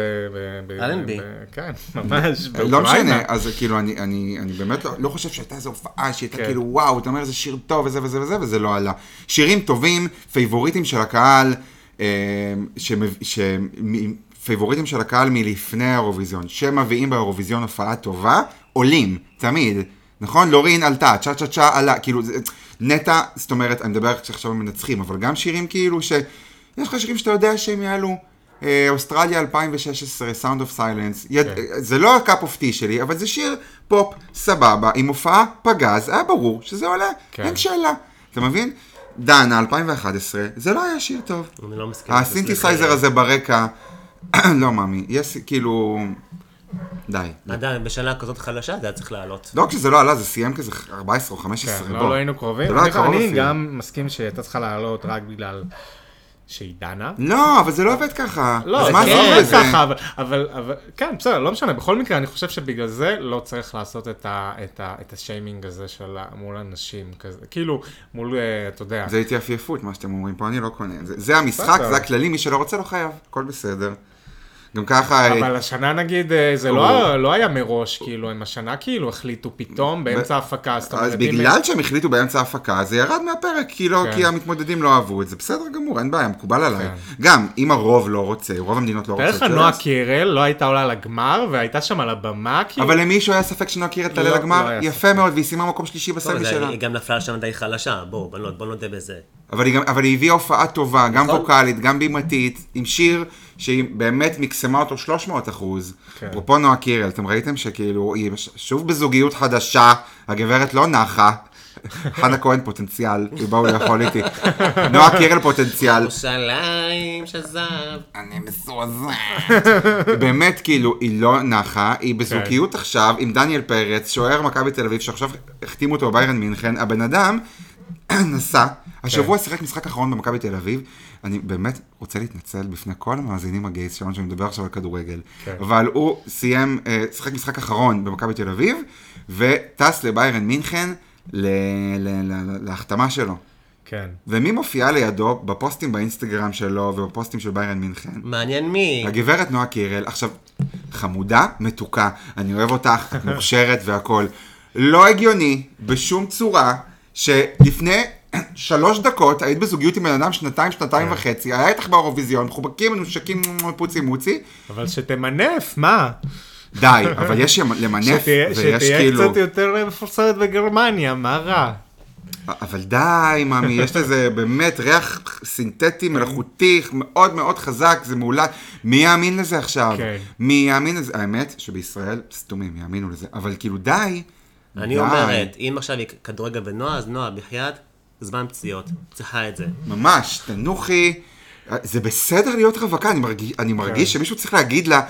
Speaker 4: ב-
Speaker 5: אלנבי.
Speaker 4: ב- כן, ממש,
Speaker 1: לא משנה,
Speaker 4: באוקראינה.
Speaker 1: אז כאילו אני, אני, אני באמת לא, לא חושב שהייתה איזו הופעה שהייתה
Speaker 4: כן.
Speaker 1: כאילו וואו, אתה אומר איזה שיר טוב וזה וזה וזה, וזה לא עלה. שירים טובים, פייבוריטים של הקהל, אה, שמב, שמ, פייבוריטים של הקהל מלפני האירוויזיון, שמביאים באירוויזיון הופעה טובה, עולים, תמיד. נכון? לורין עלתה, צ'ה צ'ה צ'ה עלה, כאילו זה- נטע, זאת אומרת, אני מדבר שעכשיו הם מנצחים, אבל גם שירים כאילו ש... יש לך שירים שאתה יודע שהם יעלו. אה, אוסטרליה 2016, Sound of Silence, יד...
Speaker 4: כן.
Speaker 1: זה לא הקאפ אוף טי שלי, אבל זה שיר פופ סבבה, עם הופעה פגז, היה ברור שזה עולה,
Speaker 4: כן.
Speaker 1: אין שאלה, אתה מבין? דנה, 2011, זה לא היה שיר טוב.
Speaker 4: כן,
Speaker 5: אני לא מסכים.
Speaker 1: הסינתסייזר
Speaker 5: סליחה.
Speaker 1: הזה ברקע, *clears throat* לא מאמי, יש כאילו... די.
Speaker 5: עדיין, בשנה כזאת חלשה זה היה צריך לעלות.
Speaker 1: לא רק שזה לא עלה, זה סיים כזה 14 או 15,
Speaker 4: כן,
Speaker 1: בוא.
Speaker 4: לא לא היינו קרובים.
Speaker 1: זה לא היה
Speaker 4: אני-
Speaker 1: קרוב
Speaker 4: אני
Speaker 1: אפילו.
Speaker 4: גם מסכים שהיא הייתה צריכה לעלות רק בגלל שהיא דנה.
Speaker 1: לא, אבל זה לא עובד ככה.
Speaker 4: לא,
Speaker 1: אז
Speaker 4: זה
Speaker 1: מה
Speaker 4: לא
Speaker 1: עשינו
Speaker 4: עובד
Speaker 1: בזה?
Speaker 4: ככה, אבל- אבל, אבל, כן, בסדר, לא משנה, בכל מקרה, אני חושב שבגלל זה לא צריך לעשות את ה- את ה- את השיימינג הזה של ה- מול אנשים, כזה, כאילו, מול, אה, אתה יודע,
Speaker 1: זה התייפייפות, מה שאתם אומרים פה, אני לא קונה. זה, זה המשחק,
Speaker 4: בסדר.
Speaker 1: זה הכללי, מי שלא רוצה לא חייב, הכל בסדר. גם ככה...
Speaker 4: אבל השנה נגיד, אה, זה לא
Speaker 1: הוא-
Speaker 4: היה- לא היה מראש, כאילו, הם השנה כאילו החליטו פתאום באמצע ההפקה, זאת אומרת,
Speaker 1: אז
Speaker 4: אם-
Speaker 1: בגלל שהם החליטו באמצע ההפקה, זה ירד מהפרק, כי לא,
Speaker 4: כן.
Speaker 1: כי המתמודדים לא אהבו את זה, בסדר גמור, אין בעיה, מקובל עליי.
Speaker 4: כן.
Speaker 1: גם, אם הרוב לא רוצה, רוב המדינות לא
Speaker 4: תאר
Speaker 1: רוצות.
Speaker 4: לך
Speaker 1: זה
Speaker 4: נועה
Speaker 1: לא-
Speaker 4: קירל לא הייתה עולה לגמר, והייתה שם על הבמה, כאילו,
Speaker 1: אבל למישהו היה ספק שנועה קירל תעלה
Speaker 4: לא,
Speaker 1: לגמר?
Speaker 4: לא היה
Speaker 1: יפה מאוד, והיא סיימה מקום שלישי בסמי
Speaker 5: זה-
Speaker 1: שלה.
Speaker 5: היא גם נפלה שם די חלשה, בואו, בנות, בואו נודה בזה.
Speaker 1: אבל היא גם- אבל היא הביאה הופעה טובה, גם
Speaker 5: נכון.
Speaker 1: ווקאלית, גם בימתית, עם שיר שהיא באמת מקסמה אותו 300 אחוז.
Speaker 4: כן.
Speaker 1: אפרופו נועה קירל, אתם ראיתם שכאילו, היא ש- שוב בזוגיות חדשה, הגברת לא נחה. *laughs* חנה כהן פוטנציאל, היא באו לאכול איתי. נועה קירל פוטנציאל.
Speaker 5: ירושלים של זהב.
Speaker 1: אני מזועזעת. באמת, כאילו, היא לא נחה, היא בזוגיות עכשיו עם דניאל פרץ, שוער מכבי תל אביב, שעכשיו החתימו אותו בביירן מינכן, הבן אדם *clears throat* נסע, השבוע שיחק משחק אחרון במכבי תל אביב, אני באמת רוצה להתנצל בפני כל המאזינים הגייס שלנו, שאני מדבר עכשיו על כדורגל, אבל הוא סיים, אה, שיחק משחק אחרון במכבי תל אביב, וטס לביירן מינכן ל- ל- ל- להחתמה שלו.
Speaker 4: כן.
Speaker 1: ומי מופיעה לידו בפוסטים באינסטגרם שלו ובפוסטים של ביירן מינכן?
Speaker 5: מעניין מי.
Speaker 1: הגברת נועה קירל, עכשיו, חמודה, מתוקה, אני אוהב אותך, את מוכשרת והכול. לא הגיוני, בשום צורה, שלפני שלוש דקות היית בזוגיות עם בן אדם שנתיים,
Speaker 4: כן.
Speaker 1: שנתיים וחצי, היה איתך באירוויזיון, מחובקים, מנושקים, פוצי מוצי,
Speaker 4: אבל שתמנף, מה?
Speaker 1: די, אבל יש למנף,
Speaker 4: שתהיה
Speaker 1: ויש
Speaker 4: שתהיה
Speaker 1: כאילו...
Speaker 4: קצת יותר מפורסמת בגרמניה, מה רע?
Speaker 1: אבל די, מאמי, יש לזה באמת ריח סינתטי, מלאכותי, מאוד מאוד חזק, זה מאולץ. מי יאמין לזה עכשיו?
Speaker 4: כן.
Speaker 1: מי יאמין לזה? האמת שבישראל, סתומים, יאמינו לזה. אבל כאילו, די.
Speaker 5: אני
Speaker 1: די.
Speaker 5: אומרת, אם עכשיו היא כדורגל ונועה, אז נועה, בחייאת, זמן פציעות. צריכה את זה.
Speaker 1: ממש, תנוחי. זה בסדר להיות רווקה, אני מרגיש, אני מרגיש
Speaker 4: כן.
Speaker 1: שמישהו צריך להגיד לה,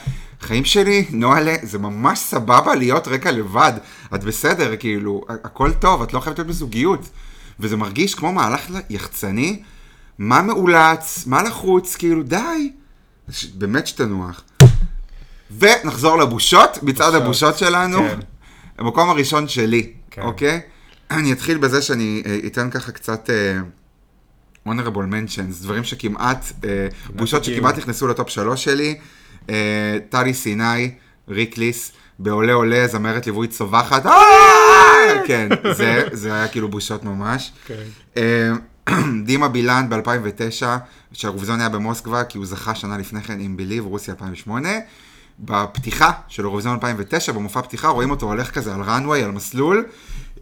Speaker 1: חיים שלי, נוהלה, זה ממש סבבה להיות רקע לבד. את בסדר, כאילו, ה- הכל טוב, את לא חייבת להיות בזוגיות. וזה מרגיש כמו מהלך ל- יחצני, מה מאולץ, מה לחוץ, כאילו, די. ש- באמת שתנוח. ונחזור לבושות, מצעד הבושות שלנו.
Speaker 4: כן.
Speaker 1: המקום הראשון שלי,
Speaker 4: כן.
Speaker 1: אוקיי? אני אתחיל בזה שאני אה, אתן ככה קצת... אה, honorable mentions, דברים שכמעט, אה, בושות
Speaker 4: הגיעו.
Speaker 1: שכמעט נכנסו לטופ שלוש שלי, אה, טלי סיני, ריקליס, בעולה עולה, זמרת ליווי צווחת, "אה!" כן, זה- זה היה כאילו בושות ממש. אה, *clears throat* דימה בילן ב-2009, שהאירוויזיון היה במוסקבה, כי הוא זכה שנה לפני כן עם ביליב, רוסיה 2008. בפתיחה של אירוויזיון 2009, במופע פתיחה, רואים אותו הולך כזה על runway, על מסלול,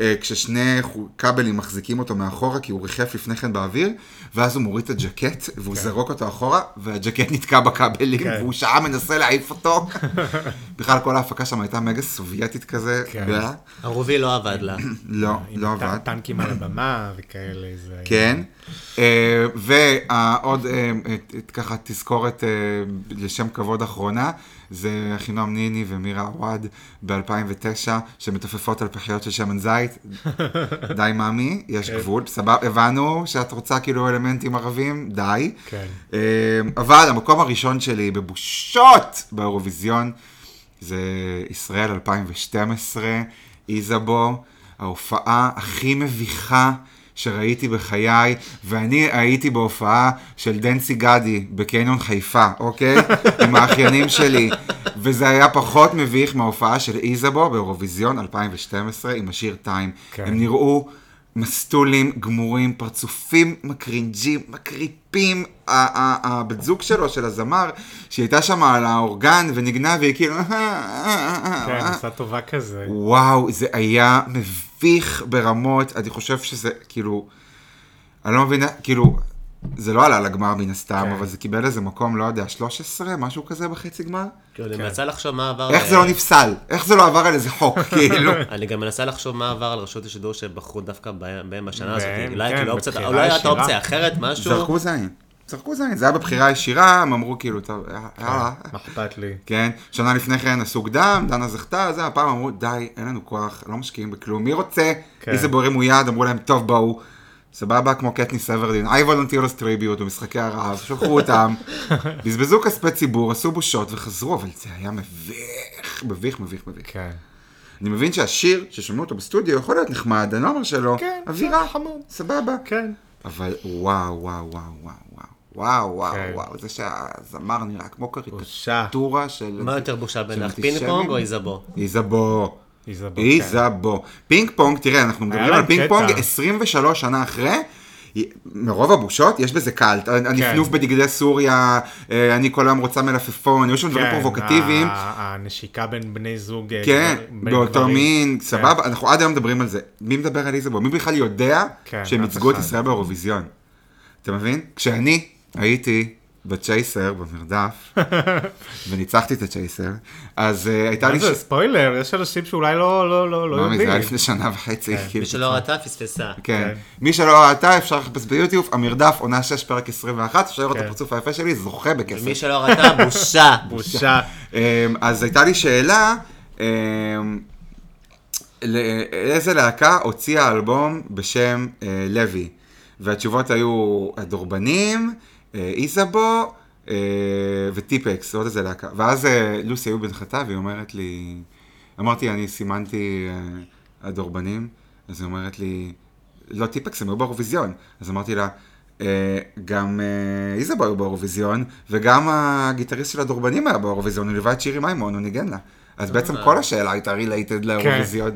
Speaker 1: אה, כששני חו- כבלים מחזיקים אותו מאחורה, כי הוא ריחף לפני כן באוויר, ואז הוא מוריד את הג'קט, והוא זרוק אותו אחורה, והג'קט נתקע בכבלים,
Speaker 4: כן.
Speaker 1: והוא שעה מנסה להעיף
Speaker 4: *laughs*
Speaker 1: אותו. בכלל, כל ההפקה שם הייתה מגה סובייטית כזה.
Speaker 4: כן. אה,
Speaker 1: בלה.
Speaker 5: הרובי לא עבד
Speaker 4: *coughs*
Speaker 5: לה.
Speaker 1: לא, לא
Speaker 4: עם
Speaker 1: עבד.
Speaker 4: טנ- טנקים על הבמה וכאלה, זה...
Speaker 1: כן. אה, ועוד אה, את- את- ככה תזכורת אה, לשם כבוד אחרונה, זה אחינועם ניני ומירה עווד ב-2009, שמתופפות על פחיות של שמן זית. די מאמי, יש גבול, סבבה, הבנו שאת רוצה כאילו אלמנטים ערבים, די.
Speaker 4: כן.
Speaker 1: אה, אבל המקום הראשון שלי בבושות באירוויזיון, זה ישראל 2012, איזבו, ההופעה הכי מביכה שראיתי בחיי, ואני הייתי בהופעה של דנסי גדי בקניון חיפה, אוקיי? עם האחיינים שלי. וזה היה פחות מביך מההופעה של איזבו באירוויזיון 2012 עם השיר טיים.
Speaker 4: כן.
Speaker 1: הם נראו מסטולים, גמורים, פרצופים מקרינג'ים, מקריפים. ה- ה- הבת זוג שלו, של הזמר, שהיא הייתה שם על האורגן ונגנה והיא כאילו... "אה, אה, אה, אה,
Speaker 4: כן,
Speaker 1: אה."
Speaker 4: עשה טובה כזה.
Speaker 1: וואו, זה היה מביך ברמות, אני חושב שזה כאילו... אני לא מבין, כאילו, זה לא עלה לגמר מן הסתם,
Speaker 4: כן.
Speaker 1: אבל זה קיבל איזה מקום, לא יודע, 13, משהו כזה בחצי גמר?
Speaker 5: כאילו,
Speaker 4: כן.
Speaker 5: אני מנסה לחשוב מה
Speaker 4: אה,
Speaker 5: עבר...
Speaker 1: איך
Speaker 5: ל-
Speaker 1: זה לא נפסל? איך זה לא עבר על איזה חוק, *laughs* כאילו?
Speaker 4: *coughs*
Speaker 5: אני גם מנסה לחשוב מה עבר על רשות השידור שבחרו דווקא בהם בהם בשנה הזאת.
Speaker 4: בהם,
Speaker 5: אולי
Speaker 4: כן,
Speaker 5: כאילו אופציית-
Speaker 4: בבחירה
Speaker 5: אולי הייתה
Speaker 4: ישירה.
Speaker 5: אופציה אחרת, משהו.
Speaker 1: זרקו זין, זרקו זין, זה היה בבחירה ישירה, הם אמרו כאילו, טוב, יאללה.
Speaker 4: מה אכפת לי?
Speaker 1: כן, שנה לפני כן עשו קדם, דנה זכתה, זה, הפעם אמרו, די, אין לנו כוח, לא משקיעים בכלום, מי רוצה?
Speaker 4: כן.
Speaker 1: איזה בוררים יד, אמרו להם, טוב, בואו. סבבה, כמו קטני סברדין, I volunteer as tribute במשחקי הרעב, שלחו
Speaker 4: *laughs*
Speaker 1: אותם, בזבזו כספי ציבור, עשו בושות וחזרו, אבל זה היה מביך, מביך, מביך, מביך.
Speaker 4: כן.
Speaker 1: אני מבין שהשיר, ששומעו אותו בסטודיו, יכול להיות נחמד, אני לא אומר שלא,
Speaker 4: כן,
Speaker 1: אווירה,
Speaker 4: זה חמוד.
Speaker 1: סבבה.
Speaker 4: כן.
Speaker 1: אבל וואו, וואו, וואו, וואו, וואו, וואו,
Speaker 4: כן.
Speaker 1: וואו, וואו, זה שהזמר נראה כמו
Speaker 4: בושה.
Speaker 1: קריקטורה של...
Speaker 5: מה יותר בושה בינך,
Speaker 1: של
Speaker 5: פינג פונג
Speaker 1: אנטישמים?
Speaker 5: או איזבו?
Speaker 1: איזבו.
Speaker 4: איזבו, כן.
Speaker 1: איזבו. פינג פונג, תראה, אנחנו מדברים
Speaker 4: להם
Speaker 1: על פינג
Speaker 4: קטע.
Speaker 1: פונג 23 שנה אחרי. מרוב הבושות יש בזה קאלט,
Speaker 4: כן.
Speaker 1: הנפנוף בדגלי סוריה, אה, אני כל היום רוצה מלפפון, היו שם דברים
Speaker 4: כן,
Speaker 1: פרובוקטיביים,
Speaker 4: ה- הנשיקה בין בני זוג. אה,
Speaker 1: כן,
Speaker 4: גבר- בין
Speaker 1: באותו
Speaker 4: גברים.
Speaker 1: מין,
Speaker 4: כן.
Speaker 1: סבבה, אנחנו עד היום מדברים על זה. מי מדבר על איזבו? מי בכלל יודע
Speaker 4: כן,
Speaker 1: שהם
Speaker 4: אף
Speaker 1: ייצגו את
Speaker 4: אחד.
Speaker 1: ישראל באירוויזיון? אתה מבין? כשאני הייתי בצ'ייסר,
Speaker 4: *laughs*
Speaker 1: במרדף, וניצחתי את הצ'ייסר, אז אה, הייתה
Speaker 4: מה
Speaker 1: לי...
Speaker 4: זה
Speaker 1: ש-
Speaker 4: ספוילר? יש אנשים שאולי לא- לא לא- לא
Speaker 1: מאמי, זה היה
Speaker 4: יודעים.
Speaker 1: לפני שנה וחצי. כאילו.
Speaker 5: מי שלא ראתה, פספסה.
Speaker 1: כן.
Speaker 4: כן.
Speaker 1: מי שלא ראתה, אפשר לחפש ביוטיוב, המרדף, עונה 6, פרק 21, אפשר לראות את
Speaker 4: כן.
Speaker 1: הפרצוף היפה שלי, זוכה בכסף.
Speaker 5: מי שלא ראתה, בושה.
Speaker 4: *laughs* בושה.
Speaker 1: אמ, אז הייתה לי שאלה, אמ, לא- איזה להקה הוציאה אלבום בשם אה, לוי? והתשובות היו הדורבנים, אה, איזבו אה, וטיפקס, עוד איזה להקה. ואז אה, לוסי היו בנחתה והיא אומרת לי, אמרתי, אני סימנתי אה, הדורבנים, אז היא אומרת לי, לא טיפקס, הם היו באירוויזיון. אז אמרתי לה, "אה, גם אה, איזבו היו באירוויזיון, וגם הגיטריסט של הדורבנים היה באירוויזיון, הוא ליווה את שירי מימון, הוא ניגן לה. אז בעצם כל השאלה הייתה רילייטד לאירוויזיון.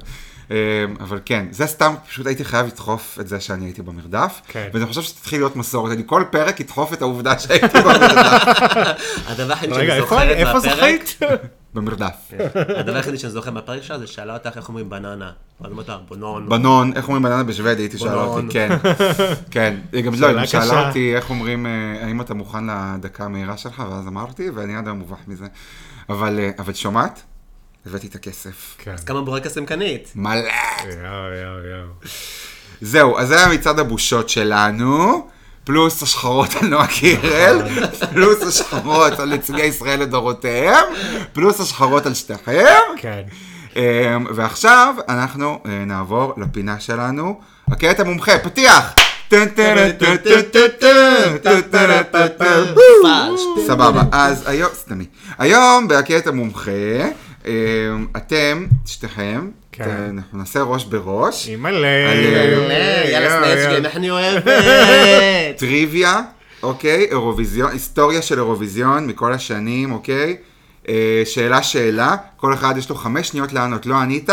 Speaker 1: אה, אבל כן, זה סתם, פשוט הייתי חייב לדחוף את זה שאני הייתי במרדף,
Speaker 4: כן.
Speaker 1: ואני חושב שתתחיל להיות מסורת, אני כל פרק אדחוף את העובדה שהייתי במרדף.
Speaker 5: *laughs* הדבר היחיד
Speaker 4: רגע,
Speaker 5: שאני
Speaker 4: איפה-
Speaker 5: זוכרת
Speaker 4: איפה
Speaker 5: מהפרק,
Speaker 4: זכית? *laughs*
Speaker 1: במרדף.
Speaker 5: *laughs* הדבר היחיד שאני זוכר מהפרק שלה זה שאלה אותך איך אומרים בננה. ואז אמרת, בונון.
Speaker 1: בנון, איך אומרים בננה בשוודית, היא שאלה אותי,
Speaker 5: בנון.
Speaker 1: כן, כן, היא גם לא,
Speaker 4: שאלה
Speaker 1: היא שאלה
Speaker 4: קשה.
Speaker 1: אותי איך אומרים, אה, האם אתה מוכן לדקה המהירה שלך, ואז אמרתי, ואני עד היום מובך מזה. אבל, אה, אבל שומעת? הבאתי את הכסף.
Speaker 4: כן.
Speaker 5: אז כמה בורקסים קנית?
Speaker 1: מלא.
Speaker 4: יואו, יואו, יואו.
Speaker 1: זהו, אז זה היה מצעד הבושות שלנו, פלוס השחרות על נועה קירל, פלוס השחרות על נציגי ישראל לדורותיהם, פלוס השחרות על שתיכם.
Speaker 4: כן.
Speaker 1: אמ, ועכשיו אנחנו אה, נעבור לפינה שלנו, הקטע המומחה, פתיח! טן, טן, טן, טן, טן, טן, טן, טן, טן, טן.
Speaker 5: פאש.
Speaker 1: סבבה, אז היום, סתמי, היום בהקטע המומחה, אמ, אתם, שתיכם,
Speaker 4: כן.
Speaker 1: אה, אנחנו נעשה ראש בראש,
Speaker 4: אימא'לה.
Speaker 1: אה, יאללה,
Speaker 5: יאללה סנאצ'גן, איך אני אוהבת.
Speaker 1: טריוויה, אוקיי, אירוויזיון, היסטוריה של אירוויזיון מכל השנים, אוקיי? אה, שאלה שאלה, כל אחד יש לו חמש שניות לענות, לא ענית,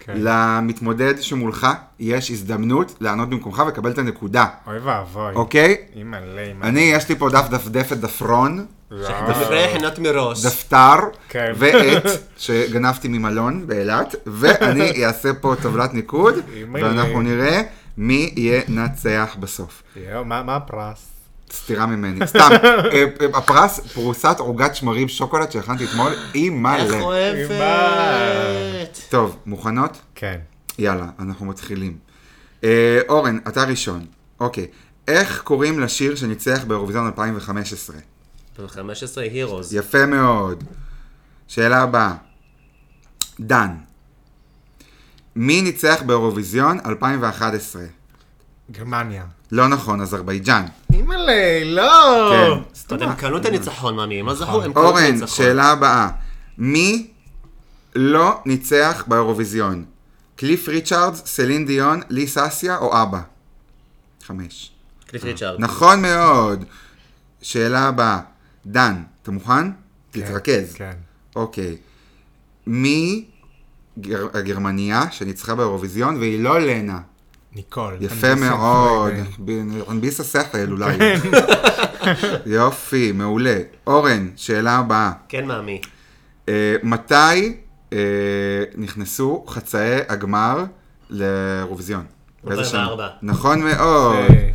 Speaker 4: כן.
Speaker 1: למתמודד שמולך יש הזדמנות לענות במקומך ולקבל את הנקודה,
Speaker 4: אוי ואבוי.
Speaker 1: אוקיי?
Speaker 4: אימא'לה, אימא'לה.
Speaker 1: אני, יש לי פה דף דפדפת דפרון,
Speaker 4: לא.
Speaker 5: דברי חנות מראש.
Speaker 1: דפתר,
Speaker 4: כן. *laughs*
Speaker 1: ועט, שגנבתי ממלון באילת, ואני אעשה פה טבלת ניקוד,
Speaker 4: אימייל.
Speaker 1: ואנחנו נראה מי ינצח בסוף.
Speaker 4: יואו, מה מה הפרס?
Speaker 1: סטירה ממני, סתם, אה, אה, הפרס, פרוסת עוגת שמרים שוקולד שהכנתי אתמול, היא
Speaker 5: איך
Speaker 1: מלא.
Speaker 5: אוהבת.
Speaker 1: טוב, מוכנות?
Speaker 4: כן.
Speaker 1: יאללה, אנחנו מתחילים. אה, אורן, אתה ראשון. אוקיי, איך קוראים לשיר שניצח באירוויזיון 2015?
Speaker 5: 15 הירוס.
Speaker 1: יפה מאוד. שאלה הבאה. דן, מי ניצח באירוויזיון 2011?
Speaker 4: גרמניה.
Speaker 1: לא נכון, אזרבייג'אן.
Speaker 4: אימא'לה, לא.
Speaker 1: כן,
Speaker 5: אבל הם קנו את הניצחון, מאמי, מה זכו? הם קנו את
Speaker 1: נכון. אורן,
Speaker 5: הניצחון.
Speaker 1: שאלה הבאה. מי לא ניצח באירוויזיון? קליף ריצ'רדס, סלין דיון, לי ססיה או אבא? חמש.
Speaker 5: קליף ריצ'ארד.
Speaker 1: נכון מאוד. שאלה הבאה. דן, אתה מוכן? תתרכז.
Speaker 4: כן.
Speaker 1: אוקיי. מי גר... הגרמניה שניצחה באירוויזיון והיא לא לנה?
Speaker 4: ניקול.
Speaker 1: יפה
Speaker 4: הנדסת
Speaker 1: מאוד,
Speaker 4: פרידמן.
Speaker 1: הנביס השכל אולי. יופי, מעולה. אורן, שאלה הבאה.
Speaker 5: כן, מאמי.
Speaker 1: אה, מתי אה, נכנסו חצאי הגמר לאירוויזיון? באיזה שנה?
Speaker 5: 2004.
Speaker 1: נכון מאוד.
Speaker 4: אה,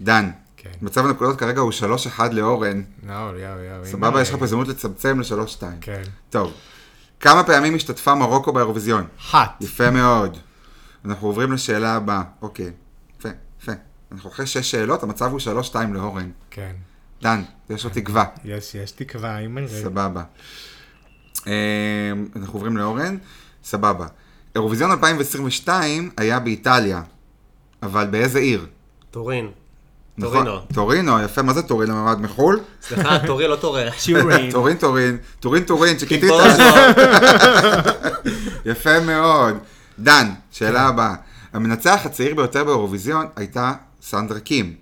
Speaker 1: דן,
Speaker 4: כן.
Speaker 1: מצב הנקודות כרגע הוא 3-1 לאורן.
Speaker 4: יואו, יואו, יואו.
Speaker 1: סבבה,
Speaker 4: אימא'לה.
Speaker 1: יש לך פה הזדמנות לצמצם ל-3-2.
Speaker 4: כן.
Speaker 1: טוב. כמה פעמים השתתפה מרוקו באירוויזיון?
Speaker 4: אחת.
Speaker 1: יפה מאוד. אנחנו עוברים לשאלה הבאה. אוקיי. יפה, יפה. אנחנו אחרי שש שאלות, המצב הוא 3-2 לאורן.
Speaker 4: כן.
Speaker 1: דן, יש לו תקווה.
Speaker 4: יש, יש תקווה, אימא'לה.
Speaker 1: סבבה. אמ, אנחנו עוברים לאורן, סבבה. אירוויזיון 2022 היה באיטליה, אבל באיזה עיר?
Speaker 5: טורין.
Speaker 1: נכון?
Speaker 5: טורינו.
Speaker 1: טורינו, יפה, מה זה טורין למעמד מחול?
Speaker 5: סליחה, טורין לא
Speaker 1: *laughs*
Speaker 5: *laughs* טורין.
Speaker 1: טורין טורין, טורין טורין, שקיטית.
Speaker 5: *laughs* בוז'ו.
Speaker 1: יפה מאוד. דן, שאלה הבאה. המנצח הצעיר ביותר באירוויזיון הייתה סנדרה קים,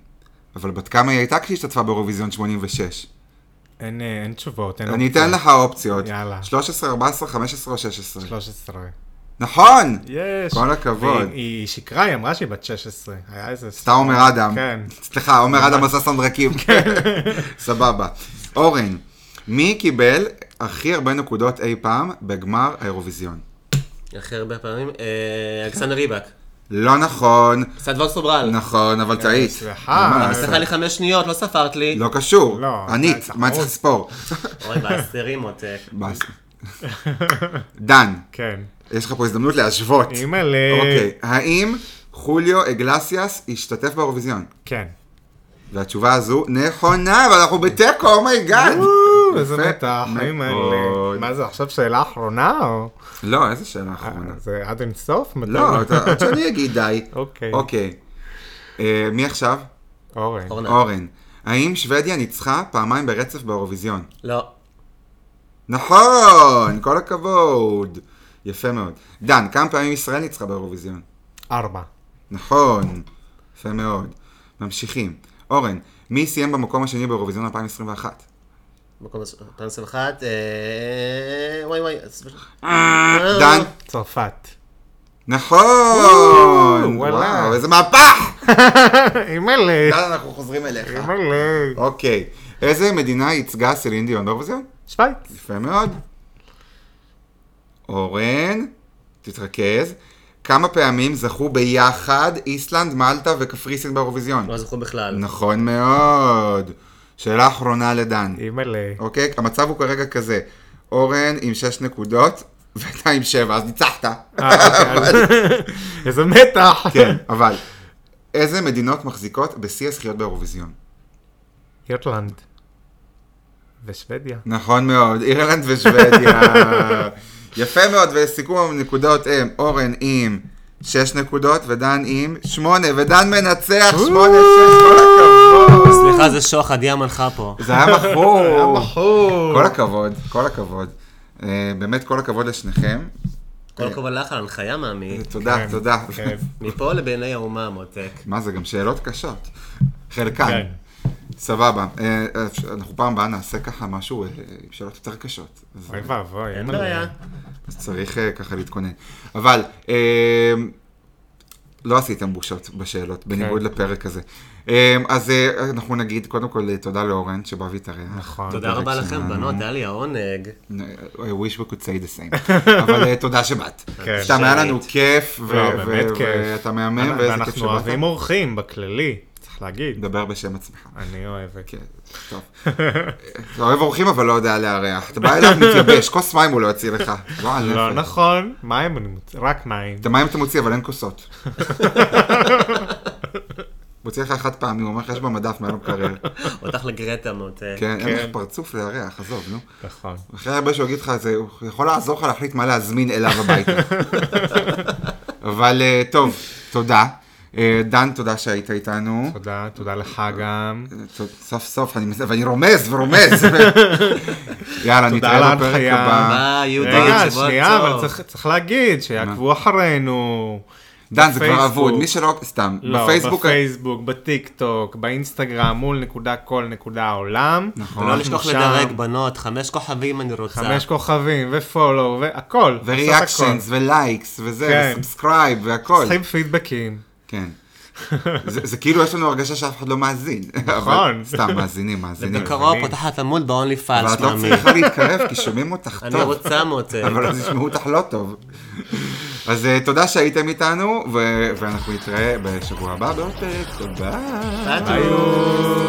Speaker 1: אבל בת כמה היא הייתה כשהשתתפה באירוויזיון 86?
Speaker 4: אין אה, אין תשובות. אין
Speaker 1: אני
Speaker 4: אופציות.
Speaker 1: אתן לך אופציות.
Speaker 4: אוקיי. יאללה.
Speaker 1: 13, 14, 15 או 16.
Speaker 4: 13.
Speaker 1: נכון!
Speaker 4: יש.
Speaker 1: כל הכבוד.
Speaker 4: והיא- היא שיקרה, היא אמרה שהיא בת 16. היה איזה...
Speaker 1: אתה עומר אדם.
Speaker 4: כן.
Speaker 1: סליחה, עומר אדם עשה סנדרקים. סבבה. אורן, מי קיבל הכי הרבה נקודות אי פעם בגמר האירוויזיון?
Speaker 5: הכי הרבה פעמים. אה, אלכסנדר ריבק.
Speaker 1: לא נכון,
Speaker 5: סדוון סוברל.
Speaker 1: נכון, אבל טעית.
Speaker 4: אה, סליחה.
Speaker 1: מה
Speaker 4: אז
Speaker 1: לעשות?
Speaker 5: לקחה לי חמש שניות, לא ספרת לי.
Speaker 1: לא קשור.
Speaker 4: לא,
Speaker 1: ענית,
Speaker 4: זה
Speaker 1: מה צריך
Speaker 4: טעות.
Speaker 1: לספור?
Speaker 5: אוי,
Speaker 1: *laughs*
Speaker 5: באסתרים עותק.
Speaker 1: בס. דן,
Speaker 4: כן.
Speaker 1: יש לך פה הזדמנות להשוות.
Speaker 4: אימא'לה.
Speaker 1: אוקיי, האם חוליו אגלסיאס השתתף באירוויזיון?
Speaker 4: כן.
Speaker 1: והתשובה הזו נכונה, אבל אנחנו בתיקו, אומייגאד.
Speaker 4: וואו, איזה
Speaker 1: יפה
Speaker 4: מתח, האם
Speaker 1: מאוד.
Speaker 4: האלה... מה זה, עכשיו שאלה אחרונה או... אה,
Speaker 1: לא, איזה שאלה אחרונה.
Speaker 4: זה עד אינסוף? מתי?
Speaker 1: לא, אתה- עד שאני אגיד די.
Speaker 4: *laughs* אוקיי.
Speaker 1: אוקיי. אה, מי עכשיו?
Speaker 4: אורן.
Speaker 5: אורנה.
Speaker 1: אורן. האם שוודיה ניצחה פעמיים ברצף באירוויזיון?
Speaker 5: לא.
Speaker 1: נכון, כל הכבוד. יפה מאוד. דן, כמה פעמים ישראל ניצחה באירוויזיון?
Speaker 4: ארבע.
Speaker 1: נכון, יפה מאוד. ממשיכים. אורן, מי סיים במקום השני באירוויזיון 2021?
Speaker 5: מקום הס- פעם עשרים ואחת, אה, וואי וואי. אז-
Speaker 1: דן,
Speaker 4: צרפת.
Speaker 1: נכון!
Speaker 4: וואלה.
Speaker 1: וואו, איזה מהפך! *laughs*
Speaker 4: אימא'לה.
Speaker 1: דן, אנחנו חוזרים אליך.
Speaker 4: אימא'לה.
Speaker 1: אוקיי, איזה מדינה ייצגה סלין דיון באירוויזיון?
Speaker 4: שווייץ.
Speaker 1: יפה מאוד. אורן, תתרכז. כמה פעמים זכו ביחד איסלנד, מלטה וקפריסין באירוויזיון?
Speaker 5: לא זוכר בכלל.
Speaker 1: נכון מאוד. שאלה אחרונה לדן. *laughs*
Speaker 4: אימא'לה.
Speaker 1: אוקיי? המצב הוא כרגע כזה, אורן עם 6 נקודות ואתה עם 7, אז ניצחת.
Speaker 4: אה, אוקיי, אז- איזה מתח.
Speaker 1: כן, אבל איזה מדינות מחזיקות בשיא הזכיות באירוויזיון?
Speaker 4: יוטלנד. ושוודיה.
Speaker 1: נכון מאוד, אירלנד
Speaker 4: *laughs*
Speaker 1: ושוודיה. יפה מאוד, וסיכום הנקודות הם אורן עם 6 נקודות ודן עם 8, ודן מנצח 8-6, כל הכבוד.
Speaker 5: סליחה, זה שוחד, היא המנחה פה.
Speaker 1: זה היה מכור.
Speaker 4: בחור.
Speaker 1: כל הכבוד, כל הכבוד. אה, באמת כל הכבוד לשניכם.
Speaker 5: כל הכבוד לך על הנחיה, מאמי.
Speaker 1: תודה, תודה.
Speaker 4: כן.
Speaker 5: מפה לבעיני האומה, מותק.
Speaker 1: *laughs* מה זה, גם שאלות קשות. חלקן.
Speaker 4: כן.
Speaker 1: סבבה. אה, אה, אפשר- אנחנו פעם הבאה נעשה ככה משהו אה, עם שאלות יותר קשות. אז-
Speaker 4: אוי ואבוי.
Speaker 5: אין
Speaker 4: אימא'לה.
Speaker 5: בעיה.
Speaker 1: אז צריך אה, ככה להתכונן. אבל, אה, לא עשיתם בושות
Speaker 4: כן.
Speaker 1: בשאלות, בניגוד לפרק הזה. אה, אז אה, אנחנו נגיד, קודם כל, אה, תודה לאורן שבא והתארח.
Speaker 4: נכון.
Speaker 5: תודה רבה לכם,
Speaker 1: שלנו.
Speaker 5: בנות, היה לי העונג.
Speaker 1: I wish we could say the same. *laughs* אבל אה, תודה שבאת.
Speaker 4: כן.
Speaker 1: סתם היה לנו כיף, ו-
Speaker 4: לא,
Speaker 1: ו-
Speaker 4: באמת
Speaker 1: ו-
Speaker 4: כיף. אה,
Speaker 1: ואתה מהמם, ואיזה כיף
Speaker 4: ואנחנו
Speaker 1: שבאת.
Speaker 4: אוהבים אורחים בכללי, צריך להגיד.
Speaker 1: דבר בשם עצמך.
Speaker 4: אני אוהבת.
Speaker 1: כן,
Speaker 4: *laughs*
Speaker 1: טוב. אתה אוהב אורחים אבל לא יודע לארח. אתה בא אליו מתייבש, כוס מים הוא לא יוציא לך. לא, על
Speaker 4: לא
Speaker 1: נפש.
Speaker 4: נכון, מים אני מוציא, רק מים.
Speaker 1: את המים אתה מוציא אבל אין כוסות. *laughs* מוציא לך אחת פעמים, הוא אומר לך יש במדף מה לא מקרר.
Speaker 4: *laughs*
Speaker 5: אותך לגרטה, מותק.
Speaker 1: כן, אין
Speaker 4: כן.
Speaker 1: לך פרצוף לארח, עזוב, נו.
Speaker 4: נכון.
Speaker 1: הכי הרבה שהוא יגיד לך, זה הוא יכול לעזור לך להחליט מה להזמין אליו
Speaker 4: *laughs*
Speaker 1: הביתה. אבל אה, טוב, תודה. אה, דן, תודה שהיית איתנו.
Speaker 4: תודה, תודה לך גם.
Speaker 1: סוף סוף, אני מס- ואני רומז
Speaker 4: *laughs*
Speaker 1: ורומז. יאללה,
Speaker 4: על
Speaker 1: נתראה בפרק
Speaker 4: ההנחיה.
Speaker 1: הבא.
Speaker 5: ביי, יהודה,
Speaker 4: רגע,
Speaker 5: שבוע
Speaker 4: שנייה,
Speaker 5: טוב.
Speaker 4: אבל צריך- צריך להגיד שיעקבו אחרינו.
Speaker 1: דן, זה כבר
Speaker 4: בפייסבוק.
Speaker 1: אבוד, מי שלא, סתם,
Speaker 4: לא,
Speaker 1: בפייסבוק,
Speaker 4: בפייסבוק, בטיק טוק, באינסטגרם, מול נקודה כל נקודה עולם.
Speaker 1: נכון.
Speaker 5: ולא
Speaker 4: אנחנו
Speaker 5: לא לשכוח
Speaker 4: שם.
Speaker 5: לדרג, בנות, חמש כוכבים אני רוצה.
Speaker 4: חמש כוכבים ופולו והכל.
Speaker 1: וריאקשנס ולייקס וזה,
Speaker 4: כן.
Speaker 1: וסאבסקרייב והכל.
Speaker 4: צריכים פידבקים. *laughs*
Speaker 1: כן. זה זה כאילו יש לנו הרגשה שאף אחד לא מאזין. אבל סתם, מאזינים, מאזינים.
Speaker 5: בקרוב פותחת עמוד ב-only
Speaker 1: אבל
Speaker 5: falls,
Speaker 1: את לא
Speaker 5: מאמי.
Speaker 1: צריכה להתקרב, כי שומעים אותך
Speaker 5: אני
Speaker 1: טוב,
Speaker 5: רוצה מותק.
Speaker 1: אבל אז ישמעו אותך לא טוב. אז אה, תודה שהייתם איתנו, ו- ואנחנו נתראה בשבוע הבא בעוד פרק. תודה.
Speaker 5: ביי.